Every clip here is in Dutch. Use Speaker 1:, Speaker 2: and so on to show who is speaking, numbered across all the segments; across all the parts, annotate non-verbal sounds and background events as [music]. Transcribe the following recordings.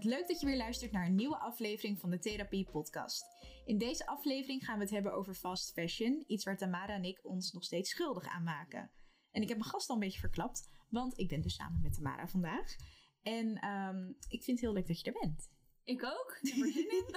Speaker 1: Leuk dat je weer luistert naar een nieuwe aflevering van de Therapie Podcast. In deze aflevering gaan we het hebben over fast fashion, iets waar Tamara en ik ons nog steeds schuldig aan maken. En ik heb mijn gast al een beetje verklapt, want ik ben dus samen met Tamara vandaag. En ehm, ik vind het heel leuk dat je er bent.
Speaker 2: Ik ook. Ik heb er zin in.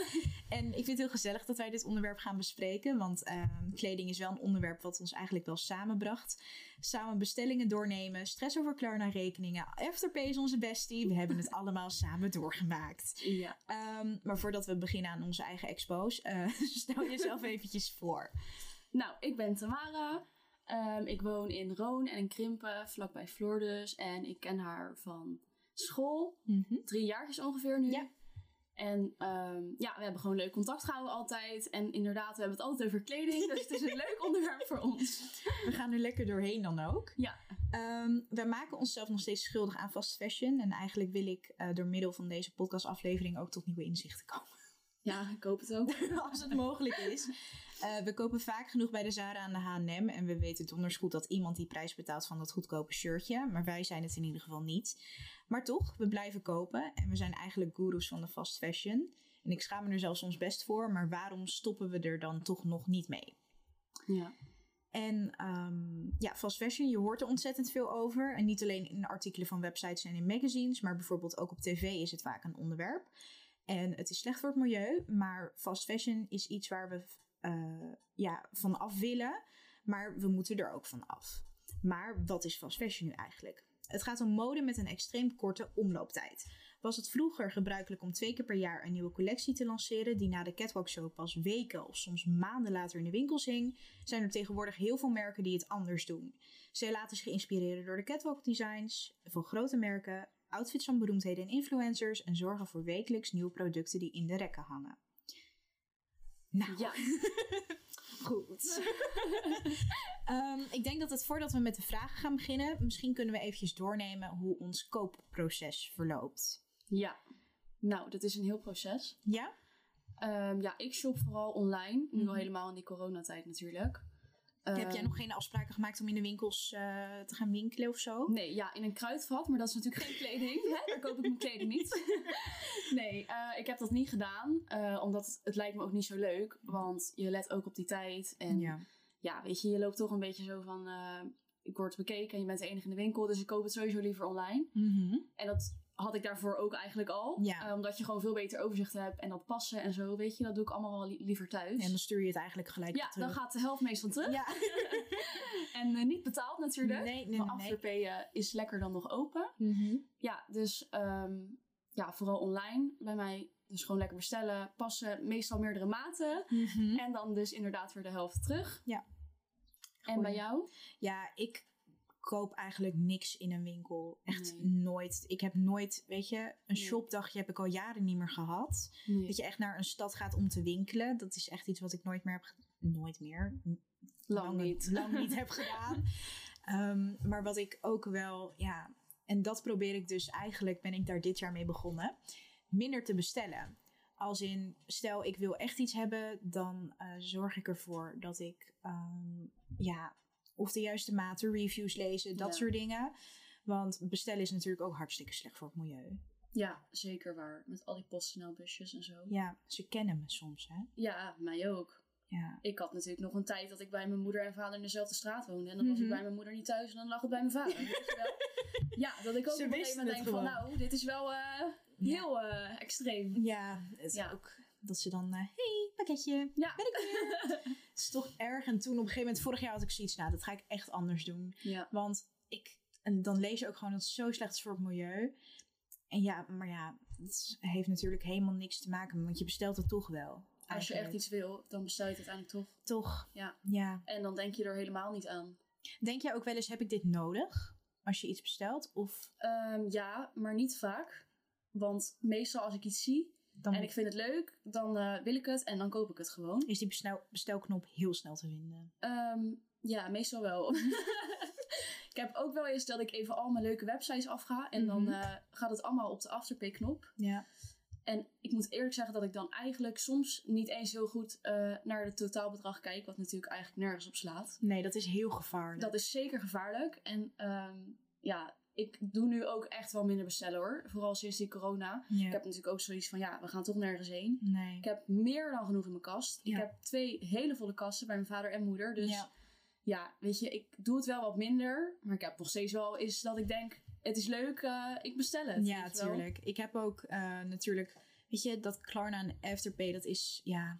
Speaker 1: En ik vind het heel gezellig dat wij dit onderwerp gaan bespreken. Want ehm, kleding is wel een onderwerp wat ons eigenlijk wel samenbracht. Samen bestellingen doornemen, stress over Klarna-rekeningen. Afterpay is onze bestie. We hebben het allemaal samen doorgemaakt.
Speaker 2: [laughs] ja.
Speaker 1: Ehm, maar voordat we beginnen aan onze eigen expos, eh, [laughs] stel jezelf eventjes voor.
Speaker 2: Nou, ik ben Tamara. Ehm, ik woon in Roon en in Krimpen, vlakbij Floor dus. En ik ken haar van school. Drie jaar is ongeveer nu.
Speaker 1: Ja.
Speaker 2: En ehm, ja, we hebben gewoon leuk contact gehouden altijd. En inderdaad, we hebben het altijd over kleding. Dus het is een [laughs] leuk onderwerp voor ons.
Speaker 1: We gaan er lekker doorheen dan ook.
Speaker 2: Ja.
Speaker 1: Ehm, wij maken onszelf nog steeds schuldig aan fast fashion. En eigenlijk wil ik eh, door middel van deze podcastaflevering ook tot nieuwe inzichten komen.
Speaker 2: Ja, ik hoop het ook.
Speaker 1: [laughs] als het mogelijk is. Eh, we kopen vaak genoeg bij de Zara aan de H&M. En we weten donders goed dat iemand die prijs betaalt van dat goedkope shirtje. Maar wij zijn het in ieder geval niet. Maar toch, we blijven kopen. En we zijn eigenlijk goeroes van de fast fashion. En ik schaam me er zelfs soms best voor. Maar waarom stoppen we er dan toch nog niet mee?
Speaker 2: Ja.
Speaker 1: En ehm, ja, fast fashion, je hoort er ontzettend veel over. En niet alleen in artikelen van websites en in magazines, maar bijvoorbeeld ook op tv is het vaak een onderwerp. En het is slecht voor het milieu, maar fast fashion is iets waar we eh, ja, van af willen, maar we moeten er ook van af. Maar wat is fast fashion nu eigenlijk? Het gaat om mode met een extreem korte omlooptijd. Was het vroeger gebruikelijk om twee keer per jaar een nieuwe collectie te lanceren, die na de catwalk show pas weken of soms maanden later in de winkels hing, zijn er tegenwoordig heel veel merken die het anders doen. Zij laten zich inspireren door de catwalk designs van grote merken, outfits van beroemdheden en influencers en zorgen voor wekelijks nieuwe producten die in de rekken hangen. Nou,
Speaker 2: Ja.
Speaker 1: goed. [laughs] Ehm, ik denk dat het voordat we met de vragen gaan beginnen, misschien kunnen we eventjes doornemen hoe ons koopproces verloopt.
Speaker 2: Ja. Nou, dat is een heel proces.
Speaker 1: Ja?
Speaker 2: Ehm, ja, ik shop vooral online. Nu
Speaker 1: Mhm.
Speaker 2: al helemaal in die coronatijd natuurlijk.
Speaker 1: Heb jij
Speaker 2: Ehm,
Speaker 1: nog geen afspraken gemaakt om in de winkels eh, te gaan winkelen of zo?
Speaker 2: Nee, ja, in een kruidvat, maar dat is natuurlijk geen kleding. Hè? Daar koop ik mijn kleding niet. [laughs] nee, eh, ik heb dat niet gedaan, eh, omdat het lijkt me ook niet zo leuk. Want je let ook op die tijd. En ja, weet je, je loopt toch een beetje zo van, eh, ik word bekeken en je bent de enige in de winkel. Dus ik koop het sowieso liever online.
Speaker 1: Mhm.
Speaker 2: En dat had ik daarvoor ook eigenlijk al.
Speaker 1: Ja.
Speaker 2: Eh, omdat je gewoon veel beter overzicht hebt en dat passen en zo, weet je. Dat doe ik allemaal wel li- liever thuis.
Speaker 1: En dan stuur je het eigenlijk gelijk
Speaker 2: ja,
Speaker 1: terug.
Speaker 2: dan gaat de helft meestal terug.
Speaker 1: Ja.
Speaker 2: En eh, niet betaald natuurlijk.
Speaker 1: Nee, nee, Mhm.
Speaker 2: maar
Speaker 1: nee.
Speaker 2: Afterpay eh, is lekker dan nog open. Ja, dus ehm, ja, vooral online bij mij. Dus gewoon lekker bestellen, passen, meestal meerdere maten.
Speaker 1: Mhm.
Speaker 2: En dan dus inderdaad weer de helft terug.
Speaker 1: Ja.
Speaker 2: En bij
Speaker 1: Goeie.
Speaker 2: jou?
Speaker 1: Ja, ik koop eigenlijk niks in een winkel. Echt
Speaker 2: Nee.
Speaker 1: nooit. Ik heb nooit, weet je, een
Speaker 2: Nee.
Speaker 1: shopdagje heb ik al jaren niet meer gehad. Dat je echt naar een stad gaat om te winkelen. Dat is echt iets wat ik nooit meer heb gedaan. Nooit meer.
Speaker 2: Lang
Speaker 1: Lange-
Speaker 2: niet.
Speaker 1: [laughs] Lang niet heb gedaan. Ehm, maar wat ik ook wel, ja. En dat probeer ik dus eigenlijk, ben ik daar dit jaar mee begonnen. Minder te bestellen. Als in, stel ik wil echt iets hebben, dan eh, zorg ik ervoor dat ik, ehm, ja, of de juiste mate reviews lezen, dat
Speaker 2: Ja.
Speaker 1: soort dingen. Want bestellen is natuurlijk ook hartstikke slecht voor het milieu.
Speaker 2: Ja, zeker waar. Met al die PostNL-busjes en zo. Ja.
Speaker 1: Ja, ze kennen me soms, hè?
Speaker 2: mij ook.
Speaker 1: Ja.
Speaker 2: Ik had natuurlijk nog een tijd dat ik bij mijn moeder en vader in dezelfde straat woonde. En dan was
Speaker 1: Mhm.
Speaker 2: ik bij mijn moeder niet thuis en dan lag het bij mijn vader. Weet je wel?
Speaker 1: [laughs]
Speaker 2: Ja, dat ik ook
Speaker 1: Ze
Speaker 2: op een
Speaker 1: wisten
Speaker 2: gegeven moment
Speaker 1: het
Speaker 2: denk van
Speaker 1: gewoon.
Speaker 2: nou, dit is wel eh, heel eh, extreem.
Speaker 1: Ja, het is
Speaker 2: Ja.
Speaker 1: ook dat ze dan, eh, hey, pakketje,
Speaker 2: Ja.
Speaker 1: ben ik weer. het is toch erg. En toen op een gegeven moment, vorig jaar had ik zoiets, nou, dat ga ik echt anders doen.
Speaker 2: Ja.
Speaker 1: Want ik, en dan lees je ook gewoon dat het zo slecht is voor het milieu. En ja, maar ja, het heeft natuurlijk helemaal niks te maken, want je bestelt het toch wel.
Speaker 2: Als je echt
Speaker 1: eigenlijk.
Speaker 2: iets wil, dan besluit het uiteindelijk toch.
Speaker 1: Toch,
Speaker 2: Ja.
Speaker 1: ja.
Speaker 2: En dan denk je er helemaal niet aan.
Speaker 1: Denk jij ook wel eens, heb ik dit nodig? Als je iets bestelt? Of
Speaker 2: Ehm, ja, maar niet vaak. Want meestal als ik iets zie
Speaker 1: dan
Speaker 2: en ik vind het leuk, dan eh, wil ik het en dan koop ik het gewoon.
Speaker 1: is die bestel- bestelknop heel snel te vinden.
Speaker 2: Ehm, ja, meestal wel. [laughs] ik heb ook wel eens dat ik even al mijn leuke websites afga en
Speaker 1: Mhm.
Speaker 2: dan eh, gaat het allemaal op de afterpay-knop.
Speaker 1: Ja.
Speaker 2: En ik moet eerlijk zeggen dat ik dan eigenlijk soms niet eens heel goed eh, naar het totaalbedrag kijk, wat natuurlijk eigenlijk nergens op slaat.
Speaker 1: Nee, dat is heel gevaarlijk.
Speaker 2: Dat is zeker gevaarlijk. En ehm, ja, ik doe nu ook echt wel minder bestellen hoor. Vooral sinds die corona.
Speaker 1: Ja.
Speaker 2: Ik heb natuurlijk ook zoiets van, ja, we gaan toch nergens heen.
Speaker 1: nee.
Speaker 2: Ik heb meer dan genoeg in mijn kast.
Speaker 1: Ja.
Speaker 2: Ik heb twee hele volle kasten bij mijn vader en moeder. Dus ja.
Speaker 1: Ja.
Speaker 2: weet je, ik doe het wel wat minder. Maar ik heb nog steeds wel is dat ik denk, het is leuk, eh, ik bestel het.
Speaker 1: Ja,
Speaker 2: weet je wel.
Speaker 1: natuurlijk. Ik heb ook eh, natuurlijk, weet je, dat Klarna en Afterpay, dat is, ja,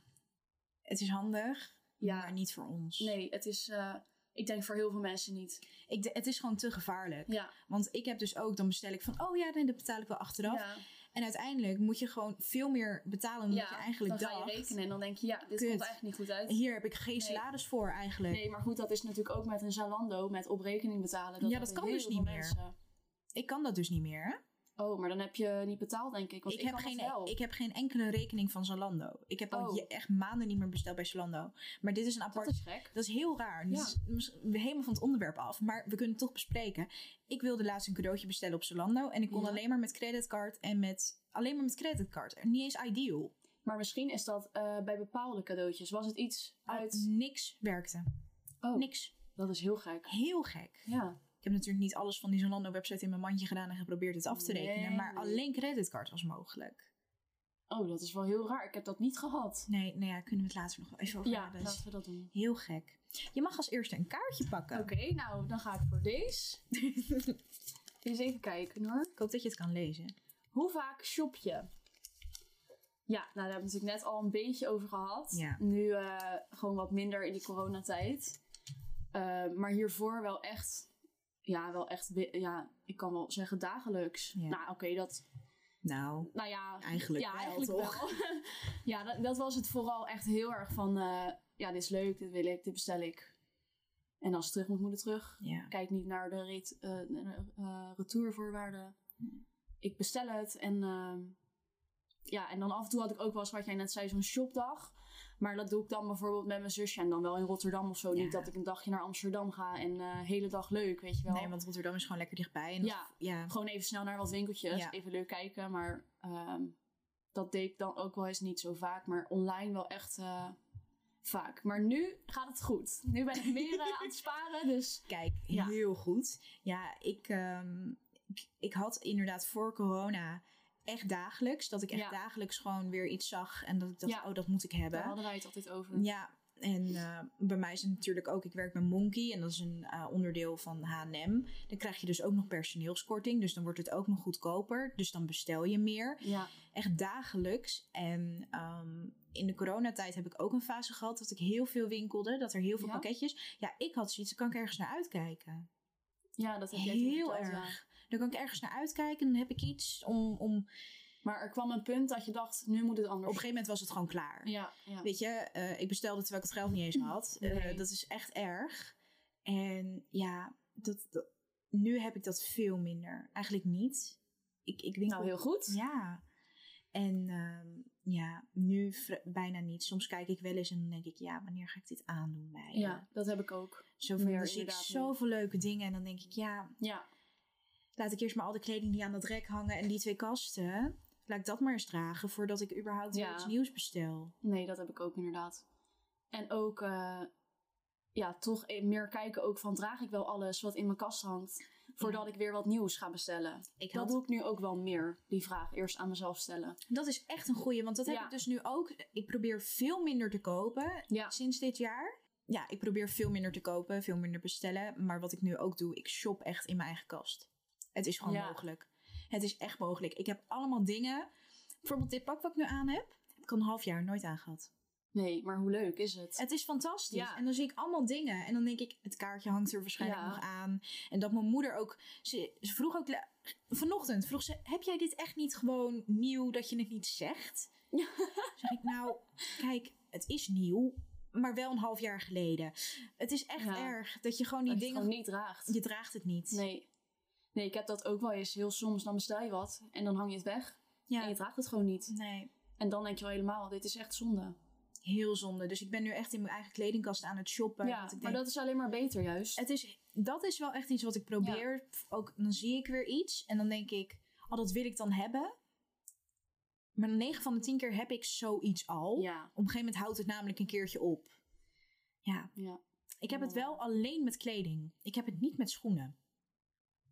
Speaker 1: het is handig,
Speaker 2: Ja.
Speaker 1: maar niet voor ons.
Speaker 2: Nee, het is, eh, ik denk voor heel veel mensen niet.
Speaker 1: Ik, d- het is gewoon te gevaarlijk.
Speaker 2: Ja,
Speaker 1: Want ik heb dus ook, dan bestel ik van, oh ja, nee, dat betaal ik wel achteraf.
Speaker 2: ja.
Speaker 1: En uiteindelijk moet je gewoon veel meer betalen dan
Speaker 2: ja.
Speaker 1: je eigenlijk
Speaker 2: dan ga
Speaker 1: dacht.
Speaker 2: je rekenen en dan denk je, ja, dit
Speaker 1: Kut.
Speaker 2: komt eigenlijk niet goed uit.
Speaker 1: Hier heb ik geen
Speaker 2: Nee.
Speaker 1: salaris voor eigenlijk.
Speaker 2: Nee, maar goed, dat is natuurlijk ook met een Zalando, met op rekening betalen.
Speaker 1: Ja, dat
Speaker 2: hebben
Speaker 1: kan
Speaker 2: heel
Speaker 1: dus
Speaker 2: veel
Speaker 1: niet meer.
Speaker 2: mensen.
Speaker 1: Ik kan dat dus niet meer. hè?
Speaker 2: Oh, maar dan heb je niet betaald, denk ik. Want ik,
Speaker 1: heb
Speaker 2: kan dat
Speaker 1: geen, e-
Speaker 2: wel.
Speaker 1: ik heb geen enkele rekening van Zalando. Ik heb al
Speaker 2: Oh.
Speaker 1: je- echt maanden niet meer besteld bij Zalando. Maar dit is een apart
Speaker 2: Dat is gek.
Speaker 1: Dat is heel raar.
Speaker 2: Ja.
Speaker 1: Dit is mis- helemaal van het onderwerp af. Maar we kunnen het toch bespreken. Ik wilde laatst een cadeautje bestellen op Zalando. En ik kon
Speaker 2: Ja.
Speaker 1: alleen maar met creditcard en met... Alleen maar met creditcard. Niet eens ideal.
Speaker 2: Maar misschien is dat eh, bij bepaalde cadeautjes. Was het iets
Speaker 1: Al-
Speaker 2: uit...
Speaker 1: Niks werkte.
Speaker 2: Oh,
Speaker 1: Niks.
Speaker 2: dat is heel gek.
Speaker 1: Heel gek.
Speaker 2: Ja.
Speaker 1: Ik heb natuurlijk niet alles van die Zalando-website in mijn mandje gedaan en geprobeerd het af te
Speaker 2: Nee,
Speaker 1: rekenen. Maar
Speaker 2: nee.
Speaker 1: alleen creditcard was mogelijk.
Speaker 2: Oh, dat is wel heel raar. Ik heb dat niet gehad.
Speaker 1: Nee, nou ja, dus- kunnen we het later nog wel even over
Speaker 2: Ja,
Speaker 1: hebben.
Speaker 2: laten we dat doen.
Speaker 1: Heel gek. Je mag als eerste een kaartje pakken.
Speaker 2: Oké, nou, dan ga ik voor deze. [laughs] Eens even kijken hoor.
Speaker 1: Ik hoop dat je het kan lezen.
Speaker 2: Hoe vaak shop je? Ja, nou, daar hebben we natuurlijk net al een beetje over gehad.
Speaker 1: Ja.
Speaker 2: Nu eh, gewoon wat minder in die coronatijd. Eh, maar hiervoor wel echt, ja, wel echt, wi- ja, ik kan wel zeggen dagelijks.
Speaker 1: Ja.
Speaker 2: Nou, oké, dat,
Speaker 1: Nou,
Speaker 2: nou ja.
Speaker 1: eigenlijk
Speaker 2: ja,
Speaker 1: wel,
Speaker 2: eigenlijk
Speaker 1: toch?
Speaker 2: wel. [laughs] ja, dat, dat was het vooral echt heel erg van, eh, ja, dit is leuk, dit wil ik, dit bestel ik. En als het terug moet, moet het terug.
Speaker 1: Ja.
Speaker 2: Kijk niet naar de ret- eh, eh, eh, retourvoorwaarden. Ik bestel het en ehm, ja, en dan af en toe had ik ook wel eens wat jij net zei, zo'n shopdag. Maar dat doe ik dan bijvoorbeeld met mijn zusje en dan wel in Rotterdam of zo.
Speaker 1: Ja.
Speaker 2: Niet dat ik een dagje naar Amsterdam ga en eh hele dag leuk, weet je wel.
Speaker 1: Nee, want Rotterdam is gewoon lekker dichtbij. En dat-
Speaker 2: Ja.
Speaker 1: ja.
Speaker 2: Gewoon even snel naar wat winkeltjes,
Speaker 1: Ja.
Speaker 2: even leuk kijken. Maar ehm, dat deed ik dan ook wel eens niet zo vaak, maar online wel echt eh, vaak. Maar nu gaat het goed. Nu ben ik meer eh, aan het sparen, dus
Speaker 1: Kijk,
Speaker 2: Ja.
Speaker 1: heel goed. Ja, ik, ehm, ik, ik had inderdaad voor corona echt dagelijks. Dat ik echt
Speaker 2: Ja.
Speaker 1: dagelijks gewoon weer iets zag. En dat ik dacht,
Speaker 2: Ja.
Speaker 1: oh, dat moet ik
Speaker 2: daar
Speaker 1: hebben.
Speaker 2: hadden wij het altijd over.
Speaker 1: Ja, en eh, bij mij is het natuurlijk ook... Ik werk bij Monkey en dat is een eh, onderdeel van H&M. Dan krijg je dus ook nog personeelskorting. Dus dan wordt het ook nog goedkoper. Dus dan bestel je meer.
Speaker 2: Ja.
Speaker 1: echt dagelijks. En ehm, in de coronatijd heb ik ook een fase gehad dat ik heel veel winkelde, dat er heel veel
Speaker 2: Ja?
Speaker 1: pakketjes. Ja, ik had zoiets, dan kan ik ergens naar uitkijken.
Speaker 2: ja, dat heb jij toen
Speaker 1: heel
Speaker 2: verteld, ja.
Speaker 1: erg. Dan kan ik ergens naar uitkijken, dan heb ik iets om, om... Op
Speaker 2: Maar er kwam een punt dat je dacht, nu moet het
Speaker 1: een
Speaker 2: anders.
Speaker 1: gegeven moment was het gewoon klaar.
Speaker 2: Ja, ja.
Speaker 1: Weet je, eh, ik bestelde terwijl ik het geld niet eens had. Eh,
Speaker 2: [laughs] Nee.
Speaker 1: dat is echt erg. En ja, dat, dat- nu heb ik dat veel minder. Eigenlijk niet. Ik, ik winkel
Speaker 2: Nou, heel goed.
Speaker 1: Ja. En ehm, ja, nu vri- bijna niet. Soms kijk ik wel eens en dan denk ik, ja, wanneer ga ik dit aandoen bij? me?
Speaker 2: Ja, dat heb ik ook.
Speaker 1: Zoveel,
Speaker 2: meer
Speaker 1: dan zie ik
Speaker 2: inderdaad niet.
Speaker 1: zoveel leuke dingen en dan denk ik, ja,
Speaker 2: Ja,
Speaker 1: laat ik eerst maar al de kleding die aan dat rek hangen en die twee kasten, laat ik dat maar eens dragen voordat ik überhaupt weer
Speaker 2: Ja.
Speaker 1: iets nieuws bestel.
Speaker 2: nee, dat heb ik ook inderdaad. En ook, eh, ja, toch e- meer kijken ook van, draag ik wel alles wat in mijn kast hangt, voordat ik weer wat nieuws ga bestellen.
Speaker 1: Ik
Speaker 2: Dat
Speaker 1: had-
Speaker 2: doe ik nu ook wel meer, die vraag eerst aan mezelf stellen.
Speaker 1: Dat is echt een goeie, want dat heb
Speaker 2: Ja.
Speaker 1: ik dus nu ook. Ik probeer veel minder te kopen
Speaker 2: Ja.
Speaker 1: sinds dit jaar. Ja, ik probeer veel minder te kopen, veel minder bestellen. Maar wat ik nu ook doe, ik shop echt in mijn eigen kast. Het is gewoon
Speaker 2: Ja.
Speaker 1: mogelijk. Het is echt mogelijk. Ik heb allemaal dingen. Bijvoorbeeld dit pak wat ik nu aan heb, heb ik al een half jaar nooit aangehad.
Speaker 2: Nee, maar hoe leuk is het?
Speaker 1: Het is fantastisch.
Speaker 2: Ja.
Speaker 1: En dan zie ik allemaal dingen. En dan denk ik, het kaartje hangt er waarschijnlijk
Speaker 2: Ja.
Speaker 1: nog aan. En dat mijn moeder ook... Ze, ze vroeg ook... la- Vanochtend vroeg ze, heb jij dit echt niet gewoon nieuw dat je het niet zegt?
Speaker 2: Ja.
Speaker 1: [laughs] Zeg ik, nou, kijk, het is nieuw, maar wel een half jaar geleden. Het is echt
Speaker 2: Ja.
Speaker 1: erg dat je gewoon die
Speaker 2: Dat je het
Speaker 1: dingen...
Speaker 2: gewoon niet draagt.
Speaker 1: Je draagt het niet.
Speaker 2: Nee. Nee, ik heb dat ook wel eens heel soms. Dan bestel je wat en dan hang je het weg.
Speaker 1: Ja.
Speaker 2: En je draagt het gewoon niet.
Speaker 1: Nee,
Speaker 2: En dan denk je wel helemaal, dit is echt zonde.
Speaker 1: heel zonde. Dus ik ben nu echt in mijn eigen kledingkast aan het shoppen.
Speaker 2: ja,
Speaker 1: want ik
Speaker 2: maar
Speaker 1: denk,
Speaker 2: dat is alleen maar beter juist.
Speaker 1: het is, dat is wel echt iets wat ik probeer. Pff, Ook dan zie ik weer iets en dan denk ik, oh, dat wil ik dan hebben. Maar 9 van de 10 keer heb ik zoiets al.
Speaker 2: Ja,
Speaker 1: Op een gegeven moment houdt het namelijk een keertje op. Ja,
Speaker 2: ja.
Speaker 1: ik heb het
Speaker 2: Ja.
Speaker 1: wel alleen met kleding. Ik heb het niet met schoenen.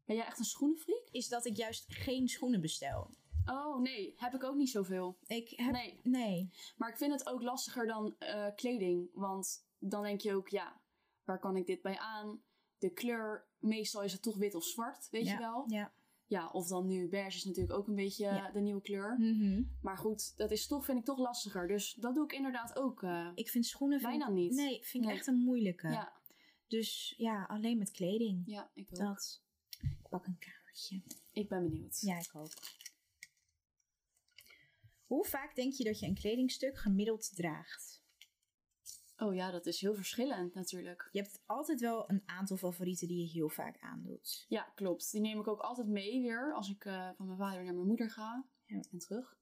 Speaker 2: Ben jij echt een schoenenfreak?
Speaker 1: Is dat ik juist geen schoenen bestel.
Speaker 2: Oh nee, heb ik ook niet zoveel.
Speaker 1: Ik heb... Nee.
Speaker 2: Nee. Maar ik vind het ook lastiger dan eh, kleding. Want dan denk je ook, ja, waar kan ik dit bij aan? De kleur, meestal is het toch wit of zwart, weet
Speaker 1: Ja,
Speaker 2: je wel?
Speaker 1: Ja.
Speaker 2: Ja, of dan nu beige is natuurlijk ook een beetje eh,
Speaker 1: Ja.
Speaker 2: de nieuwe kleur.
Speaker 1: Mhm.
Speaker 2: Maar goed, dat is toch, vind ik toch lastiger. Dus dat doe ik inderdaad ook. eh,
Speaker 1: Ik vind schoenen... vind-
Speaker 2: Bijna niet.
Speaker 1: Nee, vind ik
Speaker 2: Nee.
Speaker 1: echt een moeilijke.
Speaker 2: ja.
Speaker 1: Dus ja, alleen met kleding.
Speaker 2: ja, ik ook.
Speaker 1: Dat. Ik pak een kaartje.
Speaker 2: Ik ben benieuwd.
Speaker 1: Ja, ik ook. Hoe vaak denk je dat je een kledingstuk gemiddeld draagt?
Speaker 2: Oh ja, dat is heel verschillend natuurlijk.
Speaker 1: Je hebt altijd wel een aantal favorieten die je heel vaak aandoet.
Speaker 2: Ja, klopt. Die neem ik ook altijd mee weer als ik eh, van mijn vader naar mijn moeder ga
Speaker 1: Ja.
Speaker 2: en terug.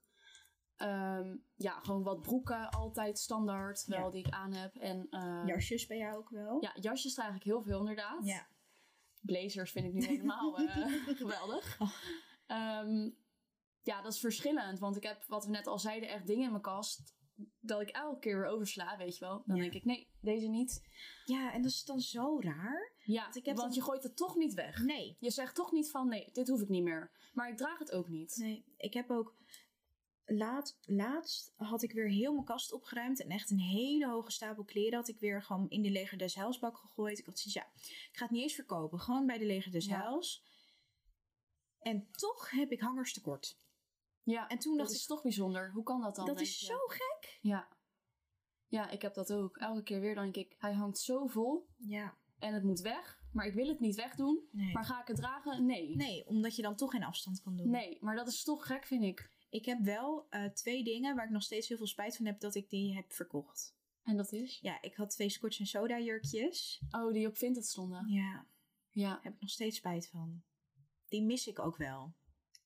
Speaker 2: Ehm, ja, gewoon wat broeken altijd standaard wel
Speaker 1: Ja.
Speaker 2: die ik aan heb. En eh,
Speaker 1: Jasjes bij jou ook wel?
Speaker 2: ja, jasjes draag ik heel veel inderdaad.
Speaker 1: Ja.
Speaker 2: Blazers vind ik nu
Speaker 1: [laughs]
Speaker 2: helemaal eh, geweldig.
Speaker 1: Oh.
Speaker 2: Ehm, ja, dat is verschillend. Want ik heb, wat we net al zeiden, echt dingen in mijn kast dat ik elke keer weer oversla, weet je wel. Dan
Speaker 1: Ja.
Speaker 2: denk ik, nee, deze niet.
Speaker 1: Ja, en dat is dan zo raar.
Speaker 2: Ja,
Speaker 1: Want ik heb
Speaker 2: want
Speaker 1: dan-
Speaker 2: je gooit het toch niet weg.
Speaker 1: Nee.
Speaker 2: Je zegt toch niet van nee, dit hoef ik niet meer. Maar ik draag het ook niet.
Speaker 1: Nee, ik heb ook... Laat, laatst had ik weer heel mijn kast opgeruimd. En echt een hele hoge stapel kleren had ik weer gewoon in de Leger des Heils bak gegooid. Ik had zoiets, ja, ik ga het niet eens verkopen. Gewoon bij de Leger des
Speaker 2: Ja.
Speaker 1: Heils. En toch heb ik hangers tekort.
Speaker 2: Ja,
Speaker 1: En toen
Speaker 2: dat
Speaker 1: dacht
Speaker 2: is
Speaker 1: ik,
Speaker 2: toch bijzonder. Hoe kan dat dan?
Speaker 1: dat
Speaker 2: denk
Speaker 1: is
Speaker 2: je?
Speaker 1: zo gek.
Speaker 2: Ja. ja, ik heb dat ook. Elke keer weer denk ik, hij hangt zo vol
Speaker 1: Ja,
Speaker 2: en het moet weg. Maar ik wil het niet wegdoen.
Speaker 1: nee.
Speaker 2: Maar ga ik het dragen? Nee.
Speaker 1: Nee, omdat je dan toch geen afstand kan doen.
Speaker 2: Nee, maar dat is toch gek, vind ik.
Speaker 1: Ik heb wel eh, twee dingen waar ik nog steeds heel veel spijt van heb dat ik die heb verkocht.
Speaker 2: En dat is?
Speaker 1: Ja, ik had twee Scotch en Soda jurkjes.
Speaker 2: Oh, die op Vinted stonden.
Speaker 1: Ja,
Speaker 2: Ja,
Speaker 1: daar heb ik nog steeds spijt van. Die mis ik ook wel.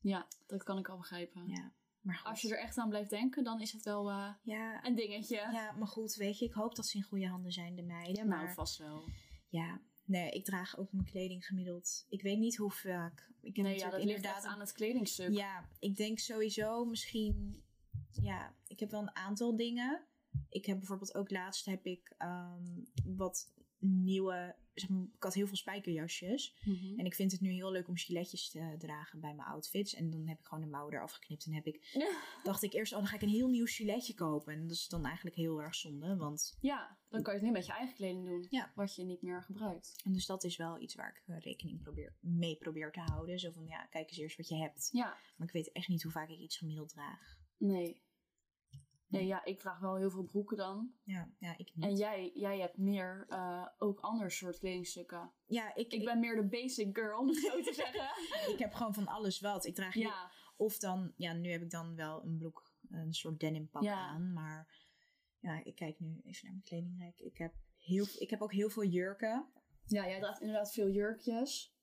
Speaker 2: ja dat kan ik al begrijpen.
Speaker 1: Ja, maar goed.
Speaker 2: Als je er echt aan blijft denken, dan is het wel eh,
Speaker 1: ja,
Speaker 2: een dingetje.
Speaker 1: ja, maar goed, weet je, ik hoop dat ze in goede handen zijn, de meiden. Maar
Speaker 2: nou, vast wel.
Speaker 1: ja, nee, ik draag ook mijn kleding gemiddeld. Ik weet niet hoe vaak. Ik heb
Speaker 2: Nee, ja,
Speaker 1: natuurlijk
Speaker 2: dat ligt echt aan het kledingstuk.
Speaker 1: Ja, ik denk sowieso misschien. Ja, ik heb wel een aantal dingen. Ik heb bijvoorbeeld ook laatst heb ik ehm, wat nieuwe. Zeg maar, ik had heel veel spijkerjasjes.
Speaker 2: Mhm.
Speaker 1: En ik vind het nu heel leuk om giletjes te dragen bij mijn outfits. En dan heb ik gewoon de mouw eraf geknipt. En heb ik, dacht ik eerst, oh, dan ga ik een heel nieuw giletje kopen. En dat is dan eigenlijk heel erg zonde. Want
Speaker 2: Ja, dan kan je het nu met je eigen kleding doen.
Speaker 1: Ja.
Speaker 2: Wat je niet meer gebruikt.
Speaker 1: en dus dat is wel iets waar ik eh, rekening probeer, mee probeer te houden. Zo van, ja, kijk eens eerst wat je hebt.
Speaker 2: Ja,
Speaker 1: Maar ik weet echt niet hoe vaak ik iets gemiddeld draag.
Speaker 2: nee. Nee, Hm. ja, ik draag wel heel veel broeken dan.
Speaker 1: Ja, ja ik niet.
Speaker 2: En jij, jij hebt meer eh, ook ander soort kledingstukken.
Speaker 1: ja, ik,
Speaker 2: Ik ben meer de basic girl, om het zo te [laughs] zeggen.
Speaker 1: ik heb gewoon van alles wat. Ik draag heel-
Speaker 2: Ja,
Speaker 1: of dan, ja, nu heb ik dan wel een broek, een soort denim pak
Speaker 2: Ja.
Speaker 1: aan, maar ja, ik kijk nu even naar mijn kledingrijk. Ik heb heel, ik heb ook heel veel jurken.
Speaker 2: ja, jij draagt inderdaad veel jurkjes.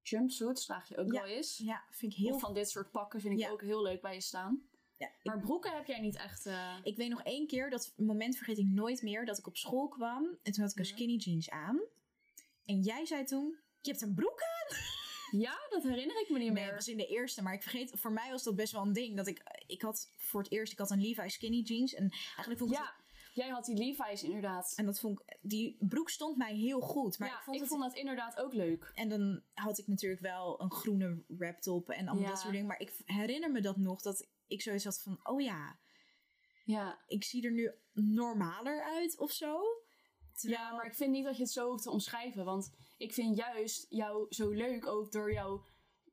Speaker 2: Jumpsuits draag je ook
Speaker 1: Ja.
Speaker 2: wel eens.
Speaker 1: Ja, vind ik
Speaker 2: Heel
Speaker 1: heel.
Speaker 2: van dit soort pakken vind ik
Speaker 1: Ja.
Speaker 2: ook heel leuk bij je staan.
Speaker 1: ja, ik-
Speaker 2: Maar broeken heb jij niet echt... eh,
Speaker 1: ik weet nog één keer dat moment vergeet ik nooit meer dat ik op school kwam en toen had ik een
Speaker 2: Ja.
Speaker 1: skinny jeans aan en jij zei toen. Je hebt een broek aan?
Speaker 2: Ja, dat herinner ik me niet
Speaker 1: Nee,
Speaker 2: meer.
Speaker 1: dat was in de eerste, maar ik vergeet, voor mij was dat best wel een ding. Dat ik, ik had voor het eerst, ik had een Levi's skinny jeans. En eigenlijk vond ik het
Speaker 2: ja, jij had die Levi's inderdaad.
Speaker 1: En dat vond ik, die broek stond mij heel goed. Maar
Speaker 2: ja,
Speaker 1: ik vond het.
Speaker 2: dat inderdaad ook leuk.
Speaker 1: En dan had ik natuurlijk wel een groene wraptop en allemaal
Speaker 2: Ja.
Speaker 1: dat soort dingen. Maar ik herinner me dat nog, dat ik zoiets had van: oh ja,
Speaker 2: Ja.
Speaker 1: ik zie er nu normaler uit of zo. Terwijl-
Speaker 2: Ja, maar ik vind niet dat je het zo hoeft te omschrijven. Want ik vind juist jou zo leuk ook door jouw,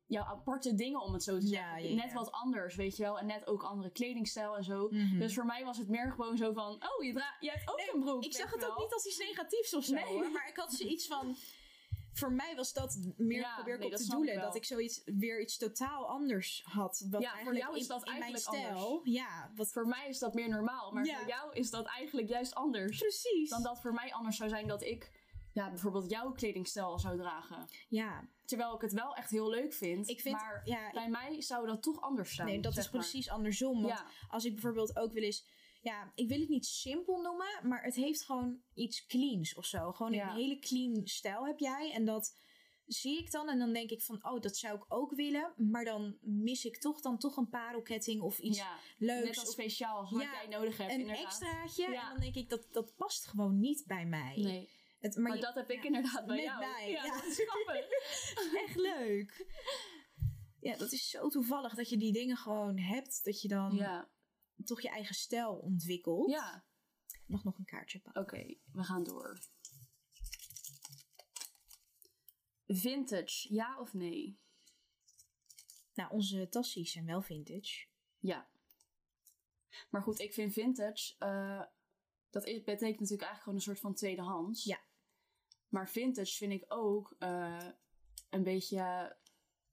Speaker 2: jouw aparte dingen, om het zo te
Speaker 1: Ja,
Speaker 2: zeggen.
Speaker 1: ja, ja.
Speaker 2: Net wat anders, weet je wel. En net ook andere kledingstijl en zo.
Speaker 1: Mhm.
Speaker 2: Dus voor mij was het meer gewoon zo van... Oh, je, dra- je hebt ook
Speaker 1: Nee,
Speaker 2: een
Speaker 1: ik
Speaker 2: broek. weet
Speaker 1: zag
Speaker 2: je
Speaker 1: het ook
Speaker 2: wel.
Speaker 1: niet als iets negatiefs of zo.
Speaker 2: Nee.
Speaker 1: hoor. Maar ik had zoiets van. Voor mij was dat meer
Speaker 2: Ja,
Speaker 1: probeer ik
Speaker 2: nee,
Speaker 1: op
Speaker 2: dat
Speaker 1: te
Speaker 2: snap
Speaker 1: doelen.
Speaker 2: ik wel.
Speaker 1: dat ik zoiets weer iets totaal anders had. Wat
Speaker 2: Ja, voor
Speaker 1: eigenlijk
Speaker 2: jou is
Speaker 1: in-
Speaker 2: dat
Speaker 1: in mijn
Speaker 2: eigenlijk
Speaker 1: stijl.
Speaker 2: anders.
Speaker 1: Ja, wat
Speaker 2: Voor mij is dat meer normaal. Maar
Speaker 1: Ja.
Speaker 2: voor jou is dat eigenlijk juist anders.
Speaker 1: precies.
Speaker 2: Dan dat voor mij anders zou zijn dat ik... Ja, bijvoorbeeld jouw kledingstijl zou dragen.
Speaker 1: Ja,
Speaker 2: Terwijl ik het wel echt heel leuk vind.
Speaker 1: ik vind.
Speaker 2: maar
Speaker 1: ja,
Speaker 2: bij mij zou dat toch anders zijn.
Speaker 1: nee, dat
Speaker 2: zeg
Speaker 1: is
Speaker 2: maar.
Speaker 1: precies andersom. Want
Speaker 2: Ja.
Speaker 1: Als ik bijvoorbeeld ook wil eens. Ja, ik wil het niet simpel noemen, maar het heeft gewoon iets cleans of zo. Gewoon
Speaker 2: Ja.
Speaker 1: een hele clean stijl heb jij. En dat zie ik dan. En dan denk ik van, oh, dat zou ik ook willen. Maar dan mis ik toch dan toch een parelketting of iets
Speaker 2: Ja.
Speaker 1: leuks.
Speaker 2: Net als
Speaker 1: of
Speaker 2: speciaal, wat
Speaker 1: Ja,
Speaker 2: jij nodig hebt,
Speaker 1: een
Speaker 2: inderdaad.
Speaker 1: extraatje.
Speaker 2: Ja.
Speaker 1: En dan denk ik, dat, dat past gewoon niet bij mij.
Speaker 2: Nee.
Speaker 1: Het,
Speaker 2: Maar,
Speaker 1: je-
Speaker 2: dat heb ik inderdaad bij
Speaker 1: Met
Speaker 2: jou.
Speaker 1: mij,
Speaker 2: ja,
Speaker 1: ja.
Speaker 2: dat is grappig.
Speaker 1: [laughs] echt leuk. Ja, dat is zo toevallig dat je die dingen gewoon hebt. Dat je dan
Speaker 2: ja,
Speaker 1: toch je eigen stijl ontwikkelt.
Speaker 2: ja.
Speaker 1: Mag nog een kaartje pakken.
Speaker 2: oké, we gaan door. Vintage, ja of nee?
Speaker 1: Nou, onze tassies zijn wel vintage.
Speaker 2: Ja. Maar goed, ik vind vintage, eh, dat is, betekent natuurlijk eigenlijk gewoon een soort van tweedehands.
Speaker 1: Ja.
Speaker 2: Maar vintage vind ik ook eh, een beetje, eh,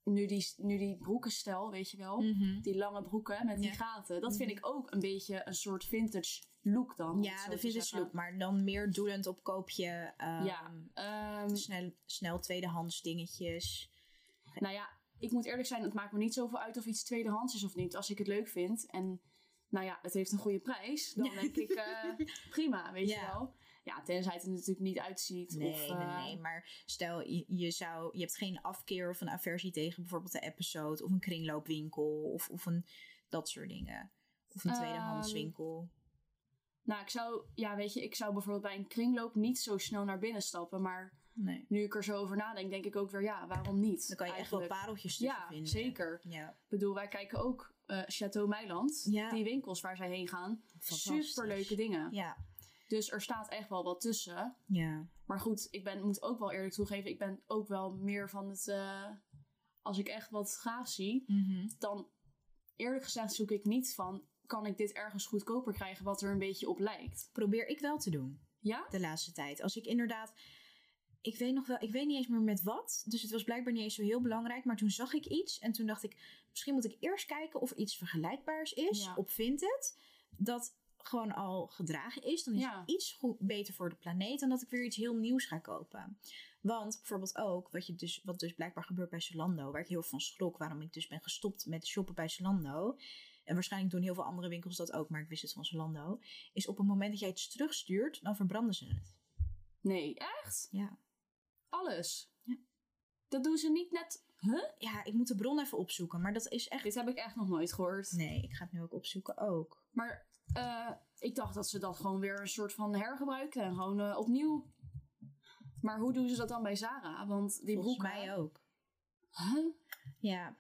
Speaker 2: nu die, nu die broekenstijl, weet je
Speaker 1: Mhm.
Speaker 2: wel, die lange broeken met die
Speaker 1: Ja.
Speaker 2: gaten, dat vind
Speaker 1: Mhm.
Speaker 2: ik ook een beetje een soort vintage look dan. om het
Speaker 1: Ja,
Speaker 2: zo
Speaker 1: de
Speaker 2: te
Speaker 1: vintage
Speaker 2: zeggen.
Speaker 1: look. Maar dan meer doelend op koopje.
Speaker 2: Ja. Ehm,
Speaker 1: snel, snel tweedehands dingetjes.
Speaker 2: Nou ja, ik moet eerlijk zijn, het maakt me niet zoveel uit of iets tweedehands is of niet. Als ik het leuk vind en nou ja, het heeft een goede prijs, dan
Speaker 1: Ja.
Speaker 2: denk
Speaker 1: [laughs]
Speaker 2: ik eh, prima, weet
Speaker 1: Ja.
Speaker 2: je wel. Ja, tenzij het er natuurlijk niet uitziet.
Speaker 1: Nee,
Speaker 2: of,
Speaker 1: nee,
Speaker 2: eh,
Speaker 1: nee. Maar stel, je, je, zou, je hebt geen afkeer of een aversie tegen bijvoorbeeld de episode. Of een kringloopwinkel. Of, of een dat soort dingen. Of een
Speaker 2: Ehm,
Speaker 1: tweedehandswinkel.
Speaker 2: Nou, ik zou, ja, weet je, ik zou bijvoorbeeld bij een kringloop niet zo snel naar binnen stappen. Maar
Speaker 1: Nee.
Speaker 2: nu ik er zo over nadenk, denk ik ook weer, ja, waarom niet?
Speaker 1: Dan kan je echt wel
Speaker 2: Eigenlijk.
Speaker 1: pareltjes tussen
Speaker 2: Ja,
Speaker 1: vinden.
Speaker 2: zeker.
Speaker 1: Ja,
Speaker 2: Ik bedoel, wij kijken ook eh, Chateau Meiland,
Speaker 1: Ja.
Speaker 2: die winkels waar zij heen gaan.
Speaker 1: fantastisch.
Speaker 2: Superleuke dingen.
Speaker 1: Ja,
Speaker 2: Dus er staat echt wel wat tussen.
Speaker 1: ja.
Speaker 2: Maar goed, ik ben, moet ook wel eerlijk toegeven, ik ben ook wel meer van het. eh, als ik echt wat gaaf zie,
Speaker 1: Mhm.
Speaker 2: dan eerlijk gezegd zoek ik niet van. Kan ik dit ergens goedkoper krijgen wat er een beetje op lijkt?
Speaker 1: Probeer ik wel te doen.
Speaker 2: Ja?
Speaker 1: de laatste tijd. Als ik inderdaad. Ik weet nog wel, ik weet niet eens meer met wat. Dus het was blijkbaar niet eens zo heel belangrijk. Maar toen zag ik iets en toen dacht ik, misschien moet ik eerst kijken of er iets vergelijkbaars is
Speaker 2: Ja.
Speaker 1: op Vinted. Dat gewoon al gedragen is. Dan is
Speaker 2: Ja.
Speaker 1: het iets goed, beter voor de planeet dan dat ik weer iets heel nieuws ga kopen. Want bijvoorbeeld ook, wat, je dus, wat dus blijkbaar gebeurt bij Zalando, waar ik heel van schrok, waarom ik dus ben gestopt met shoppen bij Zalando. En waarschijnlijk doen heel veel andere winkels dat ook, maar ik wist het van Zalando. Is op het moment dat jij iets terugstuurt, dan verbranden ze het.
Speaker 2: Nee, echt?
Speaker 1: Ja.
Speaker 2: Alles?
Speaker 1: Ja.
Speaker 2: Dat doen ze niet net. Huh?
Speaker 1: Ja, ik moet de bron even opzoeken, maar dat is echt.
Speaker 2: Dit heb ik echt nog nooit gehoord.
Speaker 1: Nee, ik ga het nu ook opzoeken ook.
Speaker 2: Maar eh, ik dacht dat ze dat gewoon weer een soort van hergebruikten en gewoon eh, opnieuw. Maar hoe doen ze dat dan bij Zara? Want die
Speaker 1: Volgens
Speaker 2: broeken.
Speaker 1: mij ook.
Speaker 2: Huh?
Speaker 1: Ja.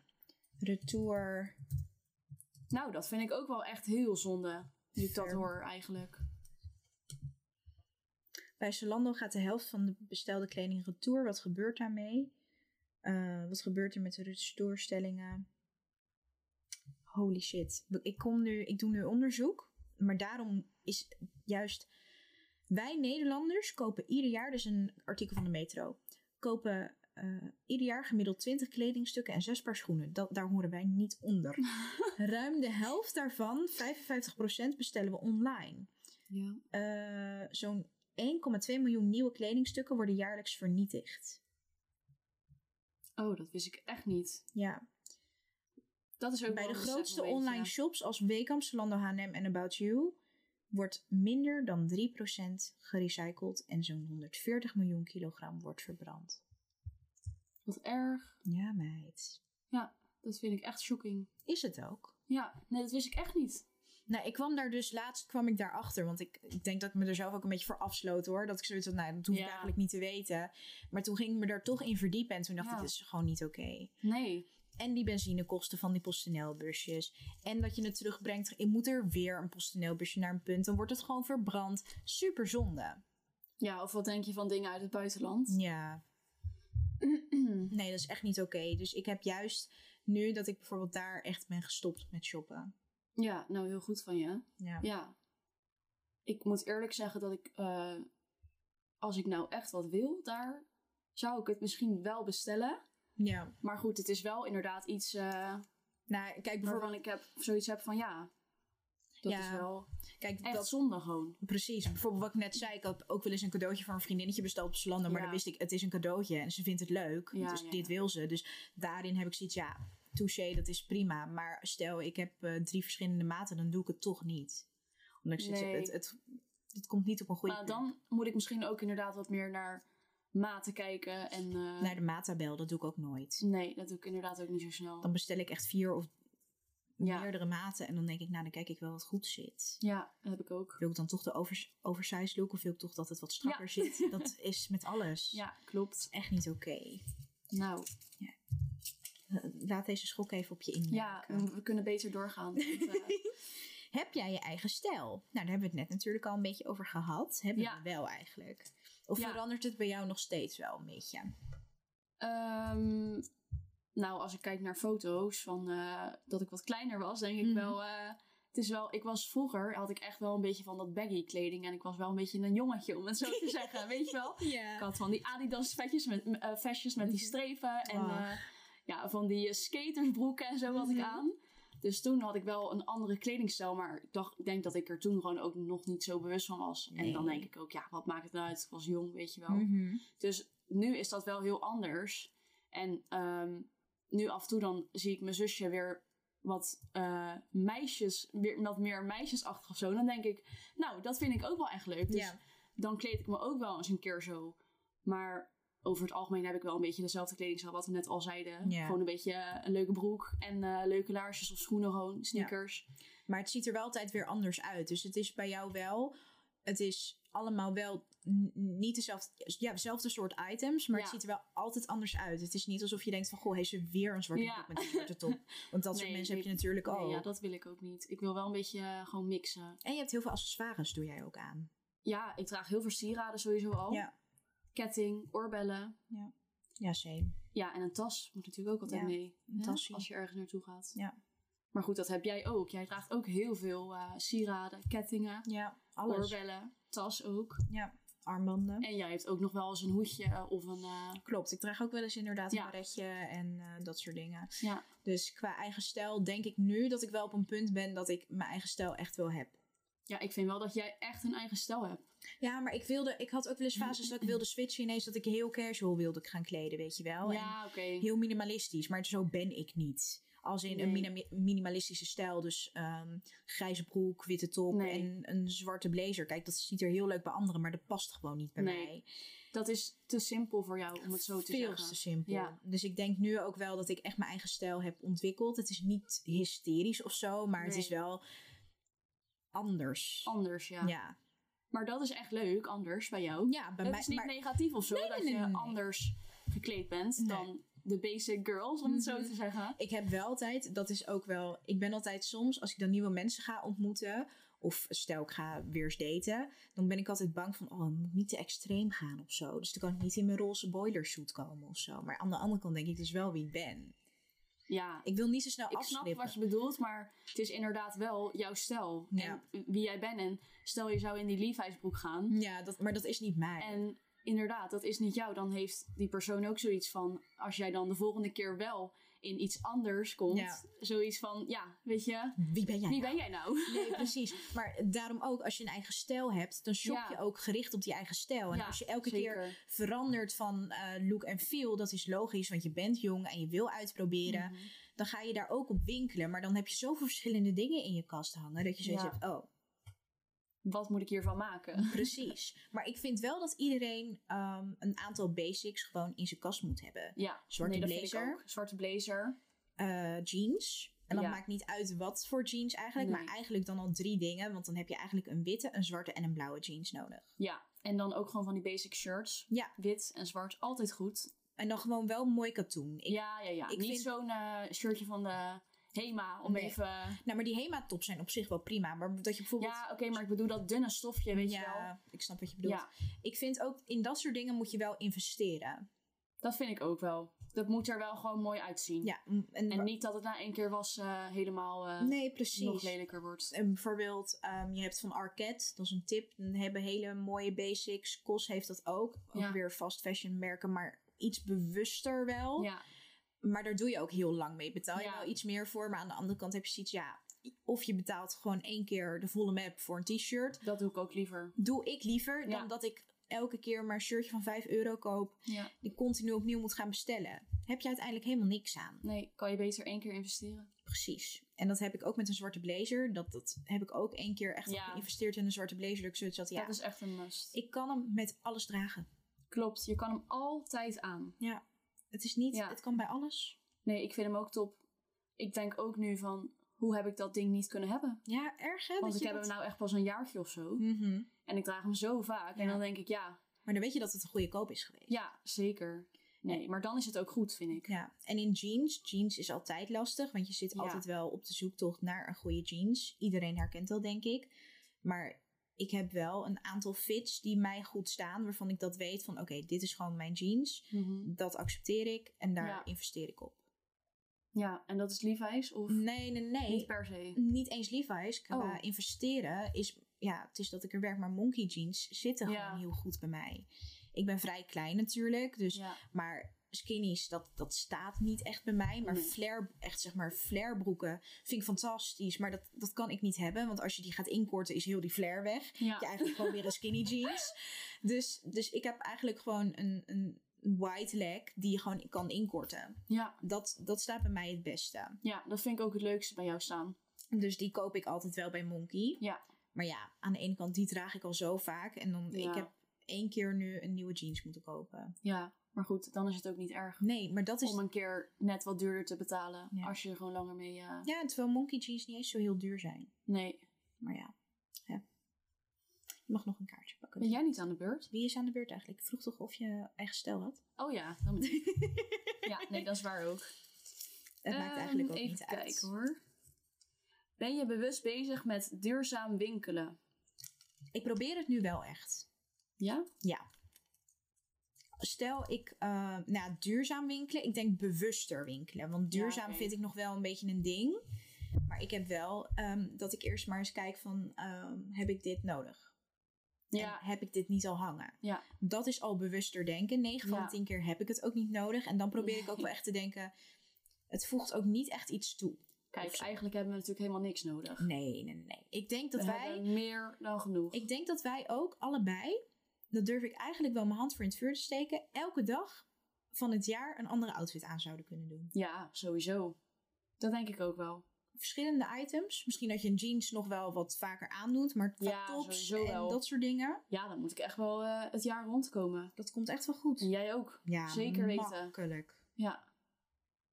Speaker 1: Retour.
Speaker 2: Nou, dat vind ik ook wel echt heel zonde. Nu ik dat
Speaker 1: Fair.
Speaker 2: hoor eigenlijk.
Speaker 1: Bij Zalando gaat de helft van de bestelde kleding retour. Wat gebeurt daarmee? Eh, wat gebeurt er met de retourstellingen? Holy shit. Ik, kom nu, ik doe nu onderzoek. Maar daarom is juist... Wij Nederlanders kopen ieder jaar... Dus een artikel van de Metro. Kopen eh, ieder jaar gemiddeld 20 kledingstukken en 6 paar schoenen. Dat, daar horen wij niet onder. Ruim de helft daarvan, 55%, bestellen we online.
Speaker 2: Ja.
Speaker 1: Eh, zo'n 1,2 miljoen nieuwe kledingstukken worden jaarlijks vernietigd.
Speaker 2: Oh, dat wist ik echt niet.
Speaker 1: Ja.
Speaker 2: Dat is ook
Speaker 1: Bij
Speaker 2: wel
Speaker 1: de
Speaker 2: een besef
Speaker 1: grootste
Speaker 2: een beetje.
Speaker 1: online shops als Wekamp, Zalando, H&M en About You wordt minder dan 3% gerecycled en zo'n 140 miljoen kilogram wordt verbrand.
Speaker 2: Wat erg.
Speaker 1: Ja, meid.
Speaker 2: Dat vind ik echt shocking.
Speaker 1: Is het ook?
Speaker 2: Ja, nee, dat wist ik echt niet.
Speaker 1: Nou, ik kwam daar dus laatst kwam ik daarachter. Want ik, ik denk dat ik me er zelf ook een beetje voor afsloot hoor. Dat ik zoiets had, nou, dat hoef ik
Speaker 2: Ja.
Speaker 1: eigenlijk niet te weten. Maar toen ging ik me daar toch in verdiepen en toen dacht
Speaker 2: Ja.
Speaker 1: ik, dit is gewoon niet oké.
Speaker 2: Nee.
Speaker 1: En die benzinekosten van die PostNL-busjes. En dat je het terugbrengt. Ik moet er weer een PostNL-busje naar een punt. Dan wordt het gewoon verbrand. Super zonde.
Speaker 2: Ja, of wat denk je van dingen uit het buitenland?
Speaker 1: Ja. Nee, dat is echt niet oké. Dus ik heb juist nu dat ik bijvoorbeeld daar echt ben gestopt met shoppen.
Speaker 2: ja, nou heel goed van je.
Speaker 1: Ja.
Speaker 2: Ja. Ik moet eerlijk zeggen dat ik, eh, als ik nou echt wat wil daar, zou ik het misschien wel bestellen.
Speaker 1: ja.
Speaker 2: Maar goed, het is wel inderdaad iets eh
Speaker 1: Nou, kijk bijvoorbeeld.
Speaker 2: waarvan ik heb, zoiets heb van ja, dat
Speaker 1: Ja.
Speaker 2: is wel
Speaker 1: Kijk,
Speaker 2: echt
Speaker 1: dat,
Speaker 2: zonde gewoon.
Speaker 1: precies. Bijvoorbeeld wat ik net zei. Ik had ook wel eens een cadeautje voor een vriendinnetje besteld op Zalando. Maar
Speaker 2: Ja.
Speaker 1: dan wist ik, het is een cadeautje. En ze vindt het leuk.
Speaker 2: Ja,
Speaker 1: dus
Speaker 2: ja,
Speaker 1: dit
Speaker 2: ja.
Speaker 1: wil ze. Dus daarin heb ik zoiets, ja, touché, dat is prima. Maar stel, ik heb eh, drie verschillende maten, dan doe ik het toch niet. Omdat ik zoiets heb,
Speaker 2: Nee.
Speaker 1: het, het, het komt niet op een goede
Speaker 2: Maar
Speaker 1: plek.
Speaker 2: dan moet ik misschien ook inderdaad wat meer naar maten kijken. En, eh,
Speaker 1: Naar de maatabel, dat doe ik ook nooit.
Speaker 2: nee, dat doe ik inderdaad ook niet zo snel.
Speaker 1: Dan bestel ik echt vier of
Speaker 2: Ja.
Speaker 1: meerdere maten. En dan denk ik, nou, dan kijk ik wel wat goed zit.
Speaker 2: Ja, dat heb ik ook.
Speaker 1: Wil ik dan toch de overs oversized look of wil ik toch dat het wat strakker
Speaker 2: [laughs]
Speaker 1: zit? Dat is met alles
Speaker 2: Ja, klopt.
Speaker 1: echt niet oké.
Speaker 2: Nou,
Speaker 1: Eh, Laat deze schok even op je
Speaker 2: ja,
Speaker 1: inwerken.
Speaker 2: we, we kunnen beter [laughs] doorgaan. want, eh,
Speaker 1: Heb jij je eigen stijl? Nou, daar hebben we het net natuurlijk al een beetje over gehad. Hebben
Speaker 2: Ja.
Speaker 1: we wel eigenlijk. Of
Speaker 2: Ja.
Speaker 1: verandert het bij jou nog steeds wel een beetje?
Speaker 2: ehm, nou, als ik kijk naar foto's van eh, dat ik wat kleiner was, denk ik
Speaker 1: Mhm.
Speaker 2: wel... eh, het is wel, ik was vroeger, had ik echt wel een beetje van dat baggy kleding. En ik was wel een beetje een jongetje, om het zo
Speaker 1: [laughs]
Speaker 2: te zeggen. Weet je wel? Ik
Speaker 1: Ja.
Speaker 2: had van die Adidas vetjes met, eh, vestjes met
Speaker 1: Mhm.
Speaker 2: die strepen. En
Speaker 1: Ach.
Speaker 2: eh, ja, van die eh, skatersbroeken en zo had ik
Speaker 1: Mhm.
Speaker 2: aan. Dus toen had ik wel een andere kledingstijl. Maar ik, dacht, ik denk dat ik er toen gewoon ook nog niet zo bewust van was. En dan
Speaker 1: Nee. Mhm.
Speaker 2: denk ik ook, ja, wat maakt het nou uit? Ik was jong, weet je wel. Dus nu is dat wel heel anders. En ehm, nu af en toe dan zie ik mijn zusje weer wat eh, meisjes, weer wat meer meisjesachtig of zo. Dan denk ik, nou, dat vind ik ook wel echt leuk. Dus
Speaker 1: Ja.
Speaker 2: dan kleed ik me ook wel eens een keer zo. Maar over het algemeen heb ik wel een beetje dezelfde kledingstijl, wat we net al zeiden.
Speaker 1: Ja.
Speaker 2: Gewoon een beetje eh, een leuke broek en eh, leuke laarsjes of schoenen gewoon, sneakers.
Speaker 1: Maar het ziet er wel altijd weer anders uit. Dus het is bij jou wel... Het is allemaal wel n- niet dezelfde, ja, dezelfde soort items, maar het
Speaker 2: Ja.
Speaker 1: ziet er wel altijd anders uit. Het is niet alsof je denkt van, goh, heeft ze weer een zwarte
Speaker 2: Ja.
Speaker 1: broek met een zwarte
Speaker 2: [laughs]
Speaker 1: top. Want dat soort
Speaker 2: Nee,
Speaker 1: mensen heb je
Speaker 2: nee,
Speaker 1: natuurlijk ook.
Speaker 2: Nee, ja, dat wil ik ook niet. Ik wil wel een beetje eh, gewoon mixen.
Speaker 1: En je hebt heel veel accessoires, doe jij ook aan.
Speaker 2: Ja, ik draag heel veel sieraden sowieso al.
Speaker 1: Ja.
Speaker 2: Ketting, oorbellen.
Speaker 1: Ja, same.
Speaker 2: Ja, en een tas moet natuurlijk ook altijd
Speaker 1: Ja,
Speaker 2: mee.
Speaker 1: een
Speaker 2: hè,
Speaker 1: tassie.
Speaker 2: Als je ergens naartoe gaat.
Speaker 1: Ja.
Speaker 2: Maar goed, dat heb jij ook. Jij draagt ook heel veel eh, sieraden, kettingen,
Speaker 1: Ja, alles.
Speaker 2: oorbellen, tas ook.
Speaker 1: Ja, armbanden.
Speaker 2: En jij hebt ook nog wel eens een hoedje eh, of een... eh,
Speaker 1: Klopt, ik draag ook wel eens inderdaad een
Speaker 2: Ja.
Speaker 1: baretje en eh, dat soort dingen.
Speaker 2: ja,
Speaker 1: Dus qua eigen stijl denk ik nu dat ik wel op een punt ben dat ik mijn eigen stijl echt wel heb.
Speaker 2: Ja, ik vind wel dat jij echt een eigen stijl hebt.
Speaker 1: Ja, maar ik wilde, ik had ook wel eens fases dat ik wilde switchen ineens dat ik heel casual wilde gaan kleden, weet je wel.
Speaker 2: ja, oké.
Speaker 1: Oh, En heel minimalistisch, maar zo ben ik niet. Als in een
Speaker 2: Nee.
Speaker 1: minimi- minimalistische stijl, dus ehm, grijze broek, witte top
Speaker 2: Nee.
Speaker 1: en een zwarte blazer. Kijk, dat ziet er heel leuk bij anderen, maar dat past gewoon niet bij
Speaker 2: Nee.
Speaker 1: mij.
Speaker 2: Dat is te simpel voor jou, om het zo te
Speaker 1: veel
Speaker 2: zeggen.
Speaker 1: te simpel.
Speaker 2: Ja.
Speaker 1: Dus ik denk nu ook wel dat ik echt mijn eigen stijl heb ontwikkeld. Het is niet hysterisch of zo, maar het
Speaker 2: Nee.
Speaker 1: is wel anders.
Speaker 2: Anders, ja.
Speaker 1: Ja.
Speaker 2: Maar dat is echt leuk, anders bij jou.
Speaker 1: ja, bij
Speaker 2: het
Speaker 1: mij.
Speaker 2: is niet
Speaker 1: maar-
Speaker 2: negatief of zo,
Speaker 1: Nee,
Speaker 2: dat
Speaker 1: nee,
Speaker 2: je
Speaker 1: nee, nee.
Speaker 2: anders gekleed bent
Speaker 1: Nee.
Speaker 2: dan de basic girls, om het zo
Speaker 1: Mhm.
Speaker 2: te zeggen.
Speaker 1: ik heb wel altijd, dat is ook wel, ik ben altijd soms, als ik dan nieuwe mensen ga ontmoeten, of stel ik ga weer eens daten, dan ben ik altijd bang van, oh, ik moet niet te extreem gaan of zo. Dus dan kan ik niet in mijn roze boilersuit komen of zo. Maar aan de andere kant denk ik dus wel wie ik ben.
Speaker 2: Ja,
Speaker 1: Ik wil niet zo snel
Speaker 2: ik snap
Speaker 1: afslippen.
Speaker 2: wat je bedoelt, maar het is inderdaad wel jouw stijl.
Speaker 1: Ja.
Speaker 2: En wie jij bent. En stel je zou in die Levi's broek gaan.
Speaker 1: Ja, dat, maar dat is niet mij.
Speaker 2: En inderdaad, dat is niet jou. Dan heeft die persoon ook zoiets van, als jij dan de volgende keer wel in iets anders komt,
Speaker 1: Ja.
Speaker 2: zoiets van, ja, weet je,
Speaker 1: wie ben jij?
Speaker 2: wie ben jij nou?
Speaker 1: Nee,
Speaker 2: [laughs]
Speaker 1: precies. Maar daarom ook, als je een eigen stijl hebt, dan shop
Speaker 2: Ja.
Speaker 1: je ook gericht op die eigen stijl. En
Speaker 2: Ja,
Speaker 1: als je elke keer
Speaker 2: Zeker.
Speaker 1: verandert van eh, look en feel, dat is logisch, want je bent jong en je wil uitproberen,
Speaker 2: Mhm.
Speaker 1: dan ga je daar ook op winkelen. Maar dan heb je zoveel [laughs] verschillende dingen in je kast hangen, dat je zoiets
Speaker 2: Ja.
Speaker 1: hebt, oh,
Speaker 2: Wat moet ik hiervan maken? [laughs]
Speaker 1: precies. [laughs] maar ik vind wel dat iedereen ehm, een aantal basics gewoon in zijn kast moet hebben.
Speaker 2: Ja,
Speaker 1: Zwarte
Speaker 2: nee, dat vind ik
Speaker 1: blazer.
Speaker 2: ook. Zwarte blazer.
Speaker 1: eh, jeans. En dan
Speaker 2: Ja.
Speaker 1: maakt niet uit wat voor jeans eigenlijk,
Speaker 2: Nee.
Speaker 1: maar eigenlijk dan al drie dingen. Want dan heb je eigenlijk een witte, een zwarte en een blauwe jeans nodig.
Speaker 2: Ja, en dan ook gewoon van die basic shirts.
Speaker 1: Ja.
Speaker 2: Wit en zwart, altijd goed.
Speaker 1: En dan gewoon wel mooi katoen. Ik
Speaker 2: ja, ja, ja.
Speaker 1: ik
Speaker 2: niet
Speaker 1: vind-
Speaker 2: zo'n eh, shirtje van de Hema om
Speaker 1: Nee.
Speaker 2: even...
Speaker 1: Nou, maar die HEMA-tops zijn op zich wel prima. Maar dat je bijvoorbeeld...
Speaker 2: Ja, oké, maar ik bedoel dat dunne stofje, weet je wel.
Speaker 1: Ja, ik snap wat je bedoelt.
Speaker 2: Ja.
Speaker 1: Ik vind ook, in dat soort dingen moet je wel investeren.
Speaker 2: Dat vind ik ook wel. Dat moet er wel gewoon mooi uitzien.
Speaker 1: Ja, m- en,
Speaker 2: En niet dat het na één keer was eh, helemaal eh,
Speaker 1: nee,
Speaker 2: nog
Speaker 1: precies.
Speaker 2: lelijker wordt.
Speaker 1: En bijvoorbeeld, ehm, je hebt van Arquette, dat is een tip. Dan hebben hele mooie basics. COS heeft dat ook. Ook
Speaker 2: Ja.
Speaker 1: weer fast fashion merken, maar iets bewuster wel.
Speaker 2: Ja,
Speaker 1: Maar daar doe je ook heel lang mee. Betaal je
Speaker 2: Ja.
Speaker 1: wel iets meer voor. Maar aan de andere kant heb je zoiets, ja... Of je betaalt gewoon één keer de volle map voor een t-shirt.
Speaker 2: dat doe ik ook liever.
Speaker 1: doe ik liever
Speaker 2: Ja.
Speaker 1: dan dat ik elke keer maar een shirtje van 5 euro koop.
Speaker 2: Ja.
Speaker 1: Die continu opnieuw moet gaan bestellen. Heb je uiteindelijk helemaal niks aan.
Speaker 2: Nee, kan je beter één keer investeren.
Speaker 1: Precies. En dat heb ik ook met een zwarte blazer. Dat, dat heb ik ook één keer echt
Speaker 2: Ja.
Speaker 1: geïnvesteerd in een zwarte blazer. Dat ik zoiets had, ja,
Speaker 2: Dat is echt een must.
Speaker 1: ik kan hem met alles dragen.
Speaker 2: Klopt, je kan hem altijd aan.
Speaker 1: Het is niet,
Speaker 2: Ja.
Speaker 1: het kan bij alles.
Speaker 2: Nee, ik vind hem ook top. Ik denk ook nu van, hoe heb ik dat ding niet kunnen hebben?
Speaker 1: Ja, erg hè? dat
Speaker 2: Want ik
Speaker 1: je
Speaker 2: heb nou-
Speaker 1: dat-
Speaker 2: hem nou echt pas een jaartje of zo.
Speaker 1: Mhm.
Speaker 2: En ik draag hem zo vaak. En
Speaker 1: Ja.
Speaker 2: dan denk ik, ja,
Speaker 1: Maar dan weet je dat het een goede koop is geweest.
Speaker 2: ja, zeker. Nee, maar dan is het ook goed, vind ik.
Speaker 1: Ja, en in jeans, jeans is altijd lastig, want je zit
Speaker 2: Ja.
Speaker 1: altijd wel op de zoektocht naar een goede jeans. Iedereen herkent dat, denk ik. Maar ik heb wel een aantal fits die mij goed staan, waarvan ik dat weet van oké, dit is gewoon mijn jeans.
Speaker 2: Mhm.
Speaker 1: Dat accepteer ik en daar
Speaker 2: Ja.
Speaker 1: investeer ik op.
Speaker 2: Ja, en dat is Levi's of
Speaker 1: Nee, nee,
Speaker 2: niet
Speaker 1: nee.
Speaker 2: per se?
Speaker 1: Niet eens Levi's. Qua
Speaker 2: Oh.
Speaker 1: investeren is, ja, het is dat ik er werk, maar monkey jeans zitten
Speaker 2: Ja.
Speaker 1: gewoon heel goed bij mij. Ik ben vrij klein natuurlijk, dus
Speaker 2: Ja.
Speaker 1: Maar skinnies, dat, dat staat niet echt bij mij. Maar
Speaker 2: Nee.
Speaker 1: flare, echt zeg maar flarebroeken vind ik fantastisch. Maar dat, dat kan ik niet hebben. Want als je die gaat inkorten, is heel die flare weg. Je
Speaker 2: Ja.
Speaker 1: hebt eigenlijk gewoon weer een
Speaker 2: [laughs]
Speaker 1: skinny jeans. Dus, dus ik heb eigenlijk gewoon een, een wide leg die je gewoon kan inkorten.
Speaker 2: Ja.
Speaker 1: Dat, dat staat bij mij het beste.
Speaker 2: ja, dat vind ik ook het leukste bij jou staan.
Speaker 1: Dus die koop ik altijd wel bij Monkey.
Speaker 2: Ja.
Speaker 1: Maar ja, aan de ene kant, die draag ik al zo vaak. En dan,
Speaker 2: Ja.
Speaker 1: ik heb één keer nu een nieuwe jeans moeten kopen.
Speaker 2: Ja, maar goed, dan is het ook niet erg
Speaker 1: Nee, maar dat is...
Speaker 2: om een keer net wat duurder te betalen.
Speaker 1: Ja.
Speaker 2: Als je er gewoon langer mee... eh,
Speaker 1: Ja, terwijl monkey jeans niet eens zo heel duur zijn.
Speaker 2: Nee.
Speaker 1: Maar ja, hè. je mag nog een kaartje pakken.
Speaker 2: Ben jij niet aan de beurt?
Speaker 1: Wie is aan de beurt eigenlijk? Ik vroeg toch of je eigen stijl had? [laughs]
Speaker 2: Oh ja, dan ben ik. ja, nee, dat is waar ook.
Speaker 1: Het maakt eigenlijk ook
Speaker 2: Ehm, even
Speaker 1: niet
Speaker 2: kijken
Speaker 1: uit.
Speaker 2: hoor. Ben je bewust bezig met duurzaam winkelen?
Speaker 1: Ik probeer het nu wel echt.
Speaker 2: Ja?
Speaker 1: Stel ik, eh nou duurzaam winkelen, ik denk bewuster winkelen. Want
Speaker 2: Ja,
Speaker 1: duurzaam
Speaker 2: oké.
Speaker 1: vind ik nog wel een beetje een ding. Maar ik heb wel ehm, dat ik eerst maar eens kijk van, ehm, heb ik dit nodig?
Speaker 2: Ja,
Speaker 1: En heb ik dit niet al hangen?
Speaker 2: Ja.
Speaker 1: Dat is al bewuster denken. 9 van
Speaker 2: Ja.
Speaker 1: de 10 keer heb ik het ook niet nodig. En dan probeer ik ook wel echt te denken, het voegt ook niet echt iets toe.
Speaker 2: kijk,
Speaker 1: Of zo.
Speaker 2: eigenlijk hebben we natuurlijk helemaal niks nodig.
Speaker 1: Nee, nee, nee. Ik denk dat
Speaker 2: we
Speaker 1: wij,
Speaker 2: hebben meer dan genoeg.
Speaker 1: ik denk dat wij ook allebei, dat durf ik eigenlijk wel mijn hand voor in het vuur te steken, elke dag van het jaar een andere outfit aan zouden kunnen doen.
Speaker 2: Ja, sowieso. Dat denk ik ook wel.
Speaker 1: Verschillende items. Misschien dat je een jeans nog wel wat vaker aandoet, maar qua
Speaker 2: Ja,
Speaker 1: tops
Speaker 2: sowieso
Speaker 1: en
Speaker 2: wel.
Speaker 1: dat soort dingen.
Speaker 2: Ja, dan moet ik echt wel eh, het jaar rondkomen.
Speaker 1: Dat komt echt wel goed.
Speaker 2: En jij ook.
Speaker 1: Ja,
Speaker 2: Zeker weten.
Speaker 1: Makkelijk.
Speaker 2: Ja.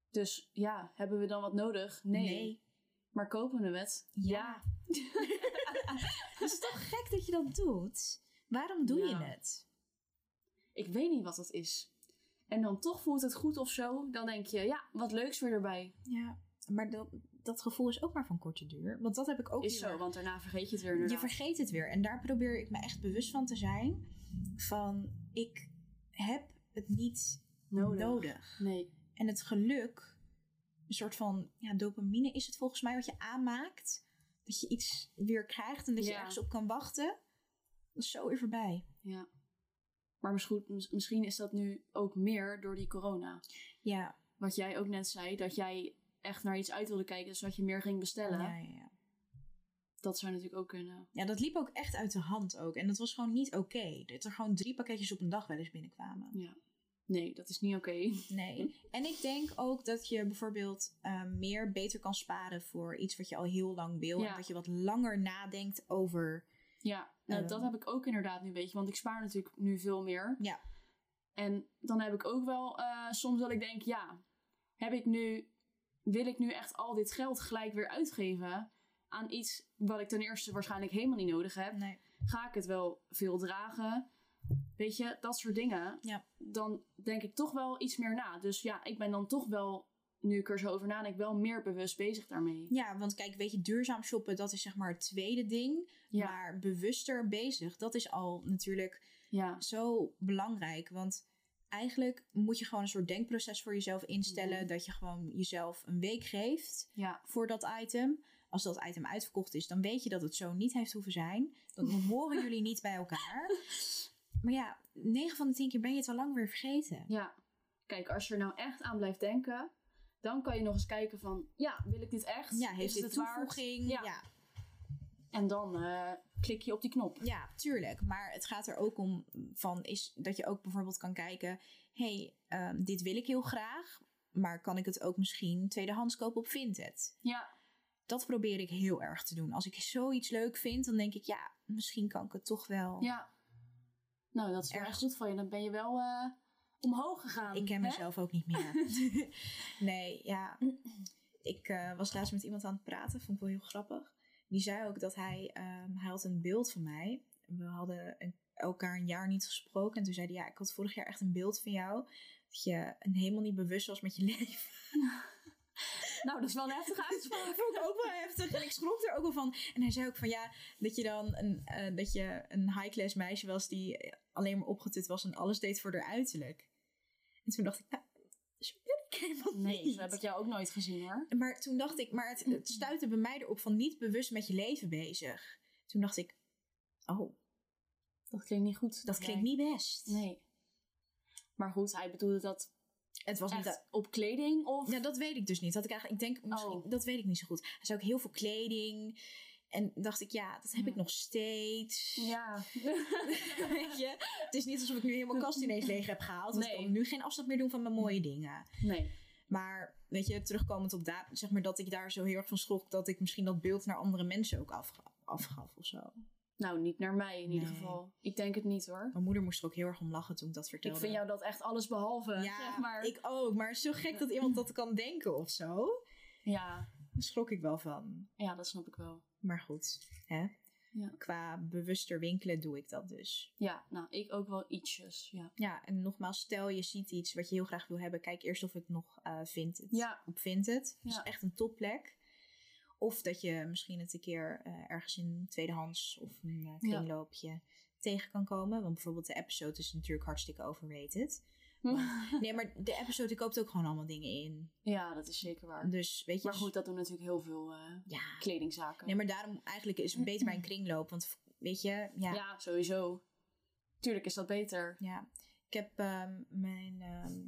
Speaker 2: Dus ja, hebben we dan wat nodig? Nee. Maar kopen we het?
Speaker 1: Ja. Het is toch gek dat je dat doet? Waarom doe
Speaker 2: Ja.
Speaker 1: je het?
Speaker 2: [laughs] Ik weet niet wat dat is. En dan toch voelt het goed of zo. Dan denk je, ja, wat leuks weer erbij.
Speaker 1: Ja, maar dat, dat gevoel is ook maar van korte duur. Want dat heb ik ook
Speaker 2: Is
Speaker 1: heel
Speaker 2: zo,
Speaker 1: erg.
Speaker 2: want daarna vergeet je het weer
Speaker 1: Je
Speaker 2: inderdaad.
Speaker 1: vergeet het weer. En daar probeer ik me echt bewust van te zijn. Van, ik heb het niet nodig.
Speaker 2: Nee.
Speaker 1: En het geluk, een soort van ja, dopamine is het volgens mij wat je aanmaakt. Dat je iets weer krijgt en dat je
Speaker 2: Ja.
Speaker 1: ergens op kan wachten. Dat is zo weer voorbij.
Speaker 2: Ja. Maar misschien, mis- misschien is dat nu ook meer door die corona.
Speaker 1: Ja.
Speaker 2: Wat jij ook net zei, dat jij echt naar iets uit wilde kijken, dus dat je meer ging bestellen.
Speaker 1: Ja, ja, ja.
Speaker 2: Dat zou natuurlijk ook kunnen.
Speaker 1: Ja, dat liep ook echt uit de hand ook. En dat was gewoon niet oké. Dat er gewoon drie pakketjes op een dag wel eens binnenkwamen.
Speaker 2: Ja. Nee, dat is niet oké. [laughs]
Speaker 1: Nee. En ik denk ook dat je bijvoorbeeld eh, meer beter kan sparen voor iets wat je al heel lang wil.
Speaker 2: Ja.
Speaker 1: En dat je wat langer nadenkt over.
Speaker 2: Ja, nou,
Speaker 1: Eh.
Speaker 2: dat heb ik ook inderdaad nu een beetje, want ik spaar natuurlijk nu veel meer.
Speaker 1: Ja.
Speaker 2: En dan heb ik ook wel eh, soms dat ik denk, ja, heb ik nu, wil ik nu echt al dit geld gelijk weer uitgeven aan iets wat ik ten eerste waarschijnlijk helemaal niet nodig heb?
Speaker 1: Nee.
Speaker 2: Ga ik het wel veel dragen? Weet je, dat soort dingen.
Speaker 1: Ja.
Speaker 2: Dan denk ik toch wel iets meer na. Dus ja, ik ben dan toch wel, nu ik er zo over nadenk, wel meer bewust bezig daarmee.
Speaker 1: Ja, want kijk, weet je, duurzaam shoppen, dat is zeg maar het tweede ding.
Speaker 2: Ja,
Speaker 1: Maar bewuster bezig, dat is al natuurlijk
Speaker 2: ja,
Speaker 1: zo belangrijk. Want eigenlijk moet je gewoon een soort denkproces voor jezelf instellen.
Speaker 2: Mhm.
Speaker 1: Dat je gewoon jezelf een week geeft.
Speaker 2: ja,
Speaker 1: voor dat item. Als dat item uitverkocht is, dan weet je dat het zo niet heeft hoeven zijn. Dan horen
Speaker 2: [laughs]
Speaker 1: jullie niet bij elkaar. Maar ja, 9 van de 10 keer ben je het al lang weer vergeten.
Speaker 2: ja. Kijk, als je er nou echt aan blijft denken, dan kan je nog eens kijken van, ja, wil ik dit echt?
Speaker 1: Ja,
Speaker 2: Is
Speaker 1: heeft dit
Speaker 2: het het waard?
Speaker 1: toevoeging?
Speaker 2: Ja.
Speaker 1: Ja. Ja,
Speaker 2: En dan eh, klik je op die knop.
Speaker 1: tuurlijk. Maar het gaat er ook om van is dat je ook bijvoorbeeld kan kijken: hey, ehm, dit wil ik heel graag, maar kan ik het ook misschien tweedehands kopen op Vinted?
Speaker 2: Ja,
Speaker 1: Dat probeer ik heel erg te doen. Als ik zoiets leuk vind, dan denk ik: ja, misschien kan ik het toch wel.
Speaker 2: ja. Nou, dat is wel
Speaker 1: Erg.
Speaker 2: echt goed van je. Dan ben je wel eh, omhoog gegaan.
Speaker 1: Ik ken
Speaker 2: hè?
Speaker 1: mezelf ook niet meer. nee, ja. Ik eh, was laatst met iemand aan het praten, vond ik wel heel grappig. Die zei ook dat hij, ehm, hij had een beeld van mij. We hadden een- elkaar een jaar niet gesproken. En toen zei hij, ja, ik had vorig jaar echt een beeld van jou. Dat je helemaal niet bewust was met je [laughs] leven.
Speaker 2: Nou, dat is wel een heftige uitspraak.
Speaker 1: [laughs] Dat vond ik ook wel heftig. En ik schrok er ook wel van. En hij zei ook van, ja, dat je dan een, eh, dat je een high-class meisje was... die alleen maar opgetut was en alles deed voor haar uiterlijk. En toen dacht ik, nou, zo ben ik helemaal
Speaker 2: Nee,
Speaker 1: niet.
Speaker 2: zo heb ik jou ook nooit gezien hoor.
Speaker 1: Maar toen dacht ik, maar het, het stuitte bij mij erop van niet bewust met je leven bezig. Toen dacht ik, oh,
Speaker 2: Dat klinkt niet goed.
Speaker 1: dat klinkt niet best.
Speaker 2: Nee. Maar goed, hij bedoelde dat
Speaker 1: Het was niet.
Speaker 2: echt op kleding of...
Speaker 1: Nou, dat weet ik dus niet. Had ik eigenlijk, ik denk, misschien,
Speaker 2: Oh.
Speaker 1: dat weet ik niet zo goed. Hij zei ook heel veel kleding. En dacht ik, ja, dat heb ik
Speaker 2: Ja.
Speaker 1: nog steeds.
Speaker 2: Hm. Ja. [laughs]
Speaker 1: [laughs] Weet je? Het is niet alsof ik nu helemaal kast ineens leeg heb gehaald. Want ik
Speaker 2: Nee. Mm.
Speaker 1: kan nu geen afstand meer doen van mijn mooie dingen.
Speaker 2: nee.
Speaker 1: Maar, weet je, terugkomend op dat, zeg maar dat ik daar zo heel erg van schrok. Dat ik misschien dat beeld naar andere mensen ook afga- afgaf of zo.
Speaker 2: Nou, niet naar mij in ieder
Speaker 1: Nee. Oh,
Speaker 2: geval. Ik denk het niet hoor.
Speaker 1: Mijn moeder moest er ook heel erg om lachen toen ik dat vertelde.
Speaker 2: Ik vind jou dat echt alles behalve.
Speaker 1: ja,
Speaker 2: zeg maar.
Speaker 1: ik ook. Maar het is zo gek dat iemand dat kan denken of zo.
Speaker 2: ja.
Speaker 1: Daar schrok ik wel van.
Speaker 2: ja, dat snap ik wel.
Speaker 1: Maar goed, hè?
Speaker 2: Ja.
Speaker 1: qua bewuster winkelen doe ik dat dus.
Speaker 2: Ja, nou, ik ook wel ietsjes. Ja.
Speaker 1: Ja, en nogmaals, stel je ziet iets wat je heel graag wil hebben. Kijk eerst of het nog eh vindt. Het.
Speaker 2: Ja.
Speaker 1: Op vindt het. Dat
Speaker 2: Ja.
Speaker 1: is echt een topplek. Of dat je misschien het een keer eh, ergens in tweedehands of een eh, kringloopje tegen kan komen. Want bijvoorbeeld de episode is natuurlijk hartstikke
Speaker 2: [laughs]
Speaker 1: overrated. Nee, maar de episode die koopt ook gewoon allemaal dingen in.
Speaker 2: [laughs] ja, dat is zeker waar.
Speaker 1: Dus weet je...
Speaker 2: Maar goed, dat doen natuurlijk heel veel eh,
Speaker 1: Ja,
Speaker 2: kledingzaken.
Speaker 1: Nee, maar daarom eigenlijk is het beter bij een kringloop. Want weet je, ja. ja.
Speaker 2: ja. sowieso. Tuurlijk is dat beter.
Speaker 1: Ik heb ehm, mijn. ehm,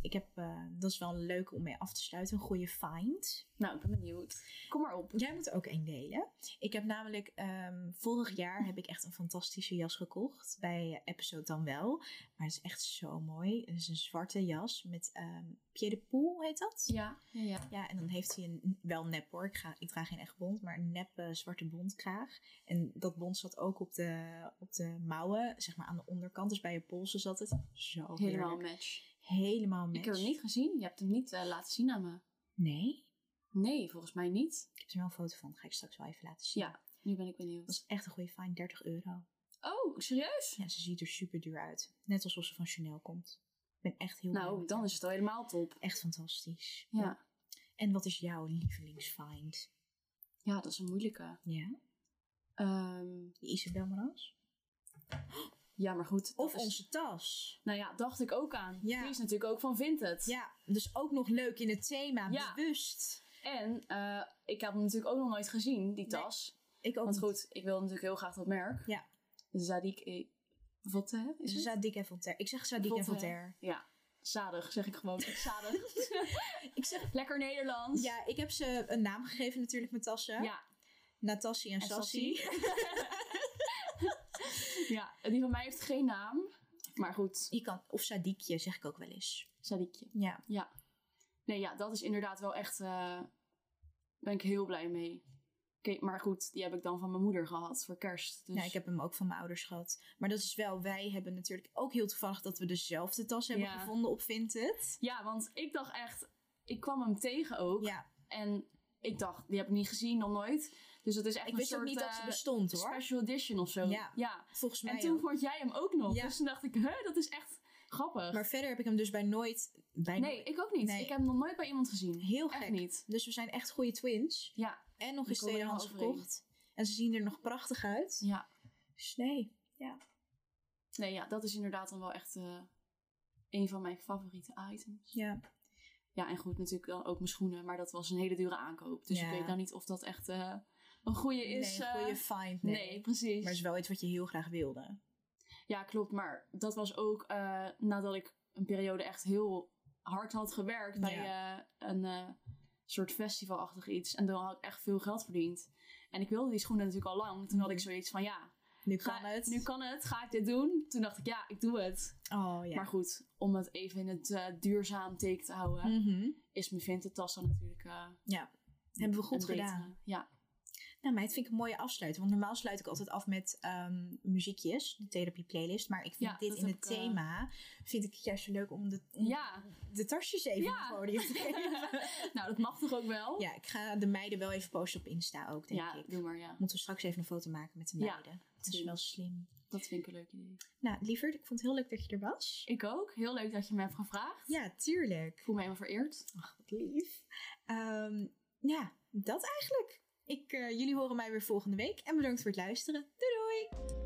Speaker 1: ik heb, eh, dat is wel leuk om mee af te sluiten, een goede find.
Speaker 2: Nou, ik ben benieuwd. Kom maar op.
Speaker 1: Jij moet er ook één delen. Ik heb namelijk, ehm, vorig jaar heb ik echt een fantastische jas gekocht. Bij eh, Episode dan wel. Maar het is echt zo mooi. Het is een zwarte jas met ehm Pied de Poel heet dat.
Speaker 2: Ja, ja, ja.
Speaker 1: Ja, en dan heeft hij een, wel nep hoor. Ik, ga, ik draag geen echt bont, maar een nep eh, zwarte bontkraag. En dat bont zat ook op de, op de mouwen, zeg maar aan de onderkant. Dus bij je polsen zat het zo
Speaker 2: Helemaal een
Speaker 1: heerlijk.
Speaker 2: match.
Speaker 1: Helemaal match.
Speaker 2: Ik heb hem niet gezien. Je hebt hem niet eh, laten zien aan me.
Speaker 1: Nee?
Speaker 2: Nee, volgens mij niet.
Speaker 1: Ik heb er wel een foto van. Ga ik straks wel even laten zien.
Speaker 2: Ja, nu ben ik
Speaker 1: Dat
Speaker 2: benieuwd.
Speaker 1: is echt een goede fijn, 30 euro.
Speaker 2: Oh, serieus?
Speaker 1: Ja, ze ziet er super duur uit. Net alsof ze van Chanel komt. Ik ben echt heel blij
Speaker 2: Nou,
Speaker 1: met
Speaker 2: dan
Speaker 1: haar.
Speaker 2: is het al helemaal top.
Speaker 1: Echt fantastisch.
Speaker 2: Ja.
Speaker 1: En wat is jouw lievelingsfind?
Speaker 2: ja, dat is een moeilijke.
Speaker 1: Ja?
Speaker 2: Ehm,
Speaker 1: Die Isabel Marans?
Speaker 2: ja, maar goed. dat
Speaker 1: Of
Speaker 2: is-
Speaker 1: onze tas?
Speaker 2: Nou ja, dacht ik ook aan.
Speaker 1: Ja.
Speaker 2: Die is natuurlijk ook van Vinted.
Speaker 1: Ja, dus ook nog leuk in het thema,
Speaker 2: Ja.
Speaker 1: bewust.
Speaker 2: En eh, ik heb hem natuurlijk ook nog nooit gezien, die
Speaker 1: Nee,
Speaker 2: tas.
Speaker 1: Ik ook
Speaker 2: Want
Speaker 1: niet.
Speaker 2: goed, ik wil natuurlijk heel graag dat merk.
Speaker 1: Ja.
Speaker 2: Zadik E. Votte, is het?
Speaker 1: Zadik en Voltaire. Ik zeg Zadik en
Speaker 2: Voltaire.
Speaker 1: Voltaire.
Speaker 2: Ja, zadig zeg ik
Speaker 1: [laughs]
Speaker 2: gewoon. Zadig.
Speaker 1: Ik zeg...
Speaker 2: Lekker Nederlands.
Speaker 1: Ja, ik heb ze een naam gegeven natuurlijk, mijn tassen.
Speaker 2: Ja,
Speaker 1: Natassie en,
Speaker 2: en
Speaker 1: Sassi.
Speaker 2: Sassi. [laughs] ja, die van mij heeft geen naam. Maar goed,
Speaker 1: Je kan, of Sadikje, zeg ik ook wel eens.
Speaker 2: Zadikje.
Speaker 1: Ja.
Speaker 2: Nee, ja, dat is inderdaad wel echt... eh ben ik heel blij mee. Oké, maar goed, die heb ik dan van mijn moeder gehad voor kerst. Dus...
Speaker 1: Nou, ik heb hem ook van mijn ouders gehad. Maar dat is wel, wij hebben natuurlijk ook heel toevallig dat we dezelfde tas hebben
Speaker 2: Ja.
Speaker 1: gevonden op Vinted.
Speaker 2: Ja, want ik dacht echt... Ik kwam hem tegen ook.
Speaker 1: Ja,
Speaker 2: En ik dacht, die heb ik niet gezien, nog nooit. Dus dat is echt
Speaker 1: ik
Speaker 2: een
Speaker 1: wist
Speaker 2: soort...
Speaker 1: ook niet dat ze
Speaker 2: eh,
Speaker 1: bestond hoor.
Speaker 2: Special edition of zo.
Speaker 1: Ja. Volgens mij
Speaker 2: En toen
Speaker 1: ook.
Speaker 2: vond jij hem ook nog.
Speaker 1: Ja.
Speaker 2: Dus toen dacht ik, hè, dat is echt grappig.
Speaker 1: Maar verder heb ik hem dus bij nooit... Bij
Speaker 2: nee,
Speaker 1: nooit-
Speaker 2: ik ook niet.
Speaker 1: Nee.
Speaker 2: Ik heb hem nog nooit bij iemand gezien.
Speaker 1: Heel
Speaker 2: echt
Speaker 1: gek.
Speaker 2: niet.
Speaker 1: Dus we zijn echt goede twins.
Speaker 2: Ja,
Speaker 1: En nog
Speaker 2: Die
Speaker 1: eens
Speaker 2: komen helemaal
Speaker 1: tweedehands
Speaker 2: overeen.
Speaker 1: gekocht. En ze zien er nog prachtig uit.
Speaker 2: ja.
Speaker 1: Dus nee.
Speaker 2: Nee, ja, dat is inderdaad dan wel echt eh, een van mijn favoriete items.
Speaker 1: Ja.
Speaker 2: Ja, en goed, natuurlijk dan ook mijn schoenen. Maar dat was een hele dure aankoop. Dus
Speaker 1: Ja.
Speaker 2: ik weet nou niet of dat echt eh, een goede is.
Speaker 1: nee, een
Speaker 2: eh,
Speaker 1: goede find.
Speaker 2: nee.
Speaker 1: Nee.
Speaker 2: precies.
Speaker 1: Maar het is wel iets wat je heel graag wilde.
Speaker 2: Ja, klopt. Maar dat was ook eh, nadat ik een periode echt heel hard had gewerkt bij eh, een eh, soort festivalachtig iets. En dan had ik echt veel geld verdiend. En ik wilde die schoenen natuurlijk al lang. Toen had ik zoiets van ja,
Speaker 1: Nu
Speaker 2: ga-
Speaker 1: kan Mhm. het.
Speaker 2: nu kan het. Ga ik dit doen? Toen dacht ik ja, ik doe het.
Speaker 1: Oh ja.
Speaker 2: Maar goed, om het even in het eh, duurzaam teken te houden,
Speaker 1: Mhm.
Speaker 2: is mijn Vinted tas dan natuurlijk eh,
Speaker 1: Hebben we goed
Speaker 2: een betere.
Speaker 1: gedaan.
Speaker 2: Ja,
Speaker 1: Nou meid, vind ik een mooie afsluiting. Want normaal sluit ik altijd af met ehm, muziekjes, de therapie playlist. Maar ik vind
Speaker 2: Ja,
Speaker 1: dit
Speaker 2: dat
Speaker 1: in
Speaker 2: heb
Speaker 1: het
Speaker 2: ik, eh,
Speaker 1: thema, vind ik juist zo leuk om de, om
Speaker 2: Ja,
Speaker 1: [laughs] de tasjes even
Speaker 2: Ja.
Speaker 1: op het podium te
Speaker 2: [laughs]
Speaker 1: geven.
Speaker 2: nou dat mag toch ook wel?
Speaker 1: ja, ik ga de meiden wel even posten op Insta ook, denk
Speaker 2: Ja,
Speaker 1: ik.
Speaker 2: doe maar, ja.
Speaker 1: Moeten we straks even een foto maken met de
Speaker 2: Ja,
Speaker 1: meiden. dat is wel slim.
Speaker 2: Dat vind ik een leuk idee.
Speaker 1: Nou, lieverd, ik vond het heel leuk dat je er was.
Speaker 2: Ik ook. Heel leuk dat je me hebt gevraagd.
Speaker 1: Ja, tuurlijk.
Speaker 2: Ik voel me helemaal vereerd.
Speaker 1: Ach, wat lief. Ehm, ja, dat eigenlijk. Ik, eh, jullie horen mij weer volgende week. En bedankt voor het luisteren. Doei doei!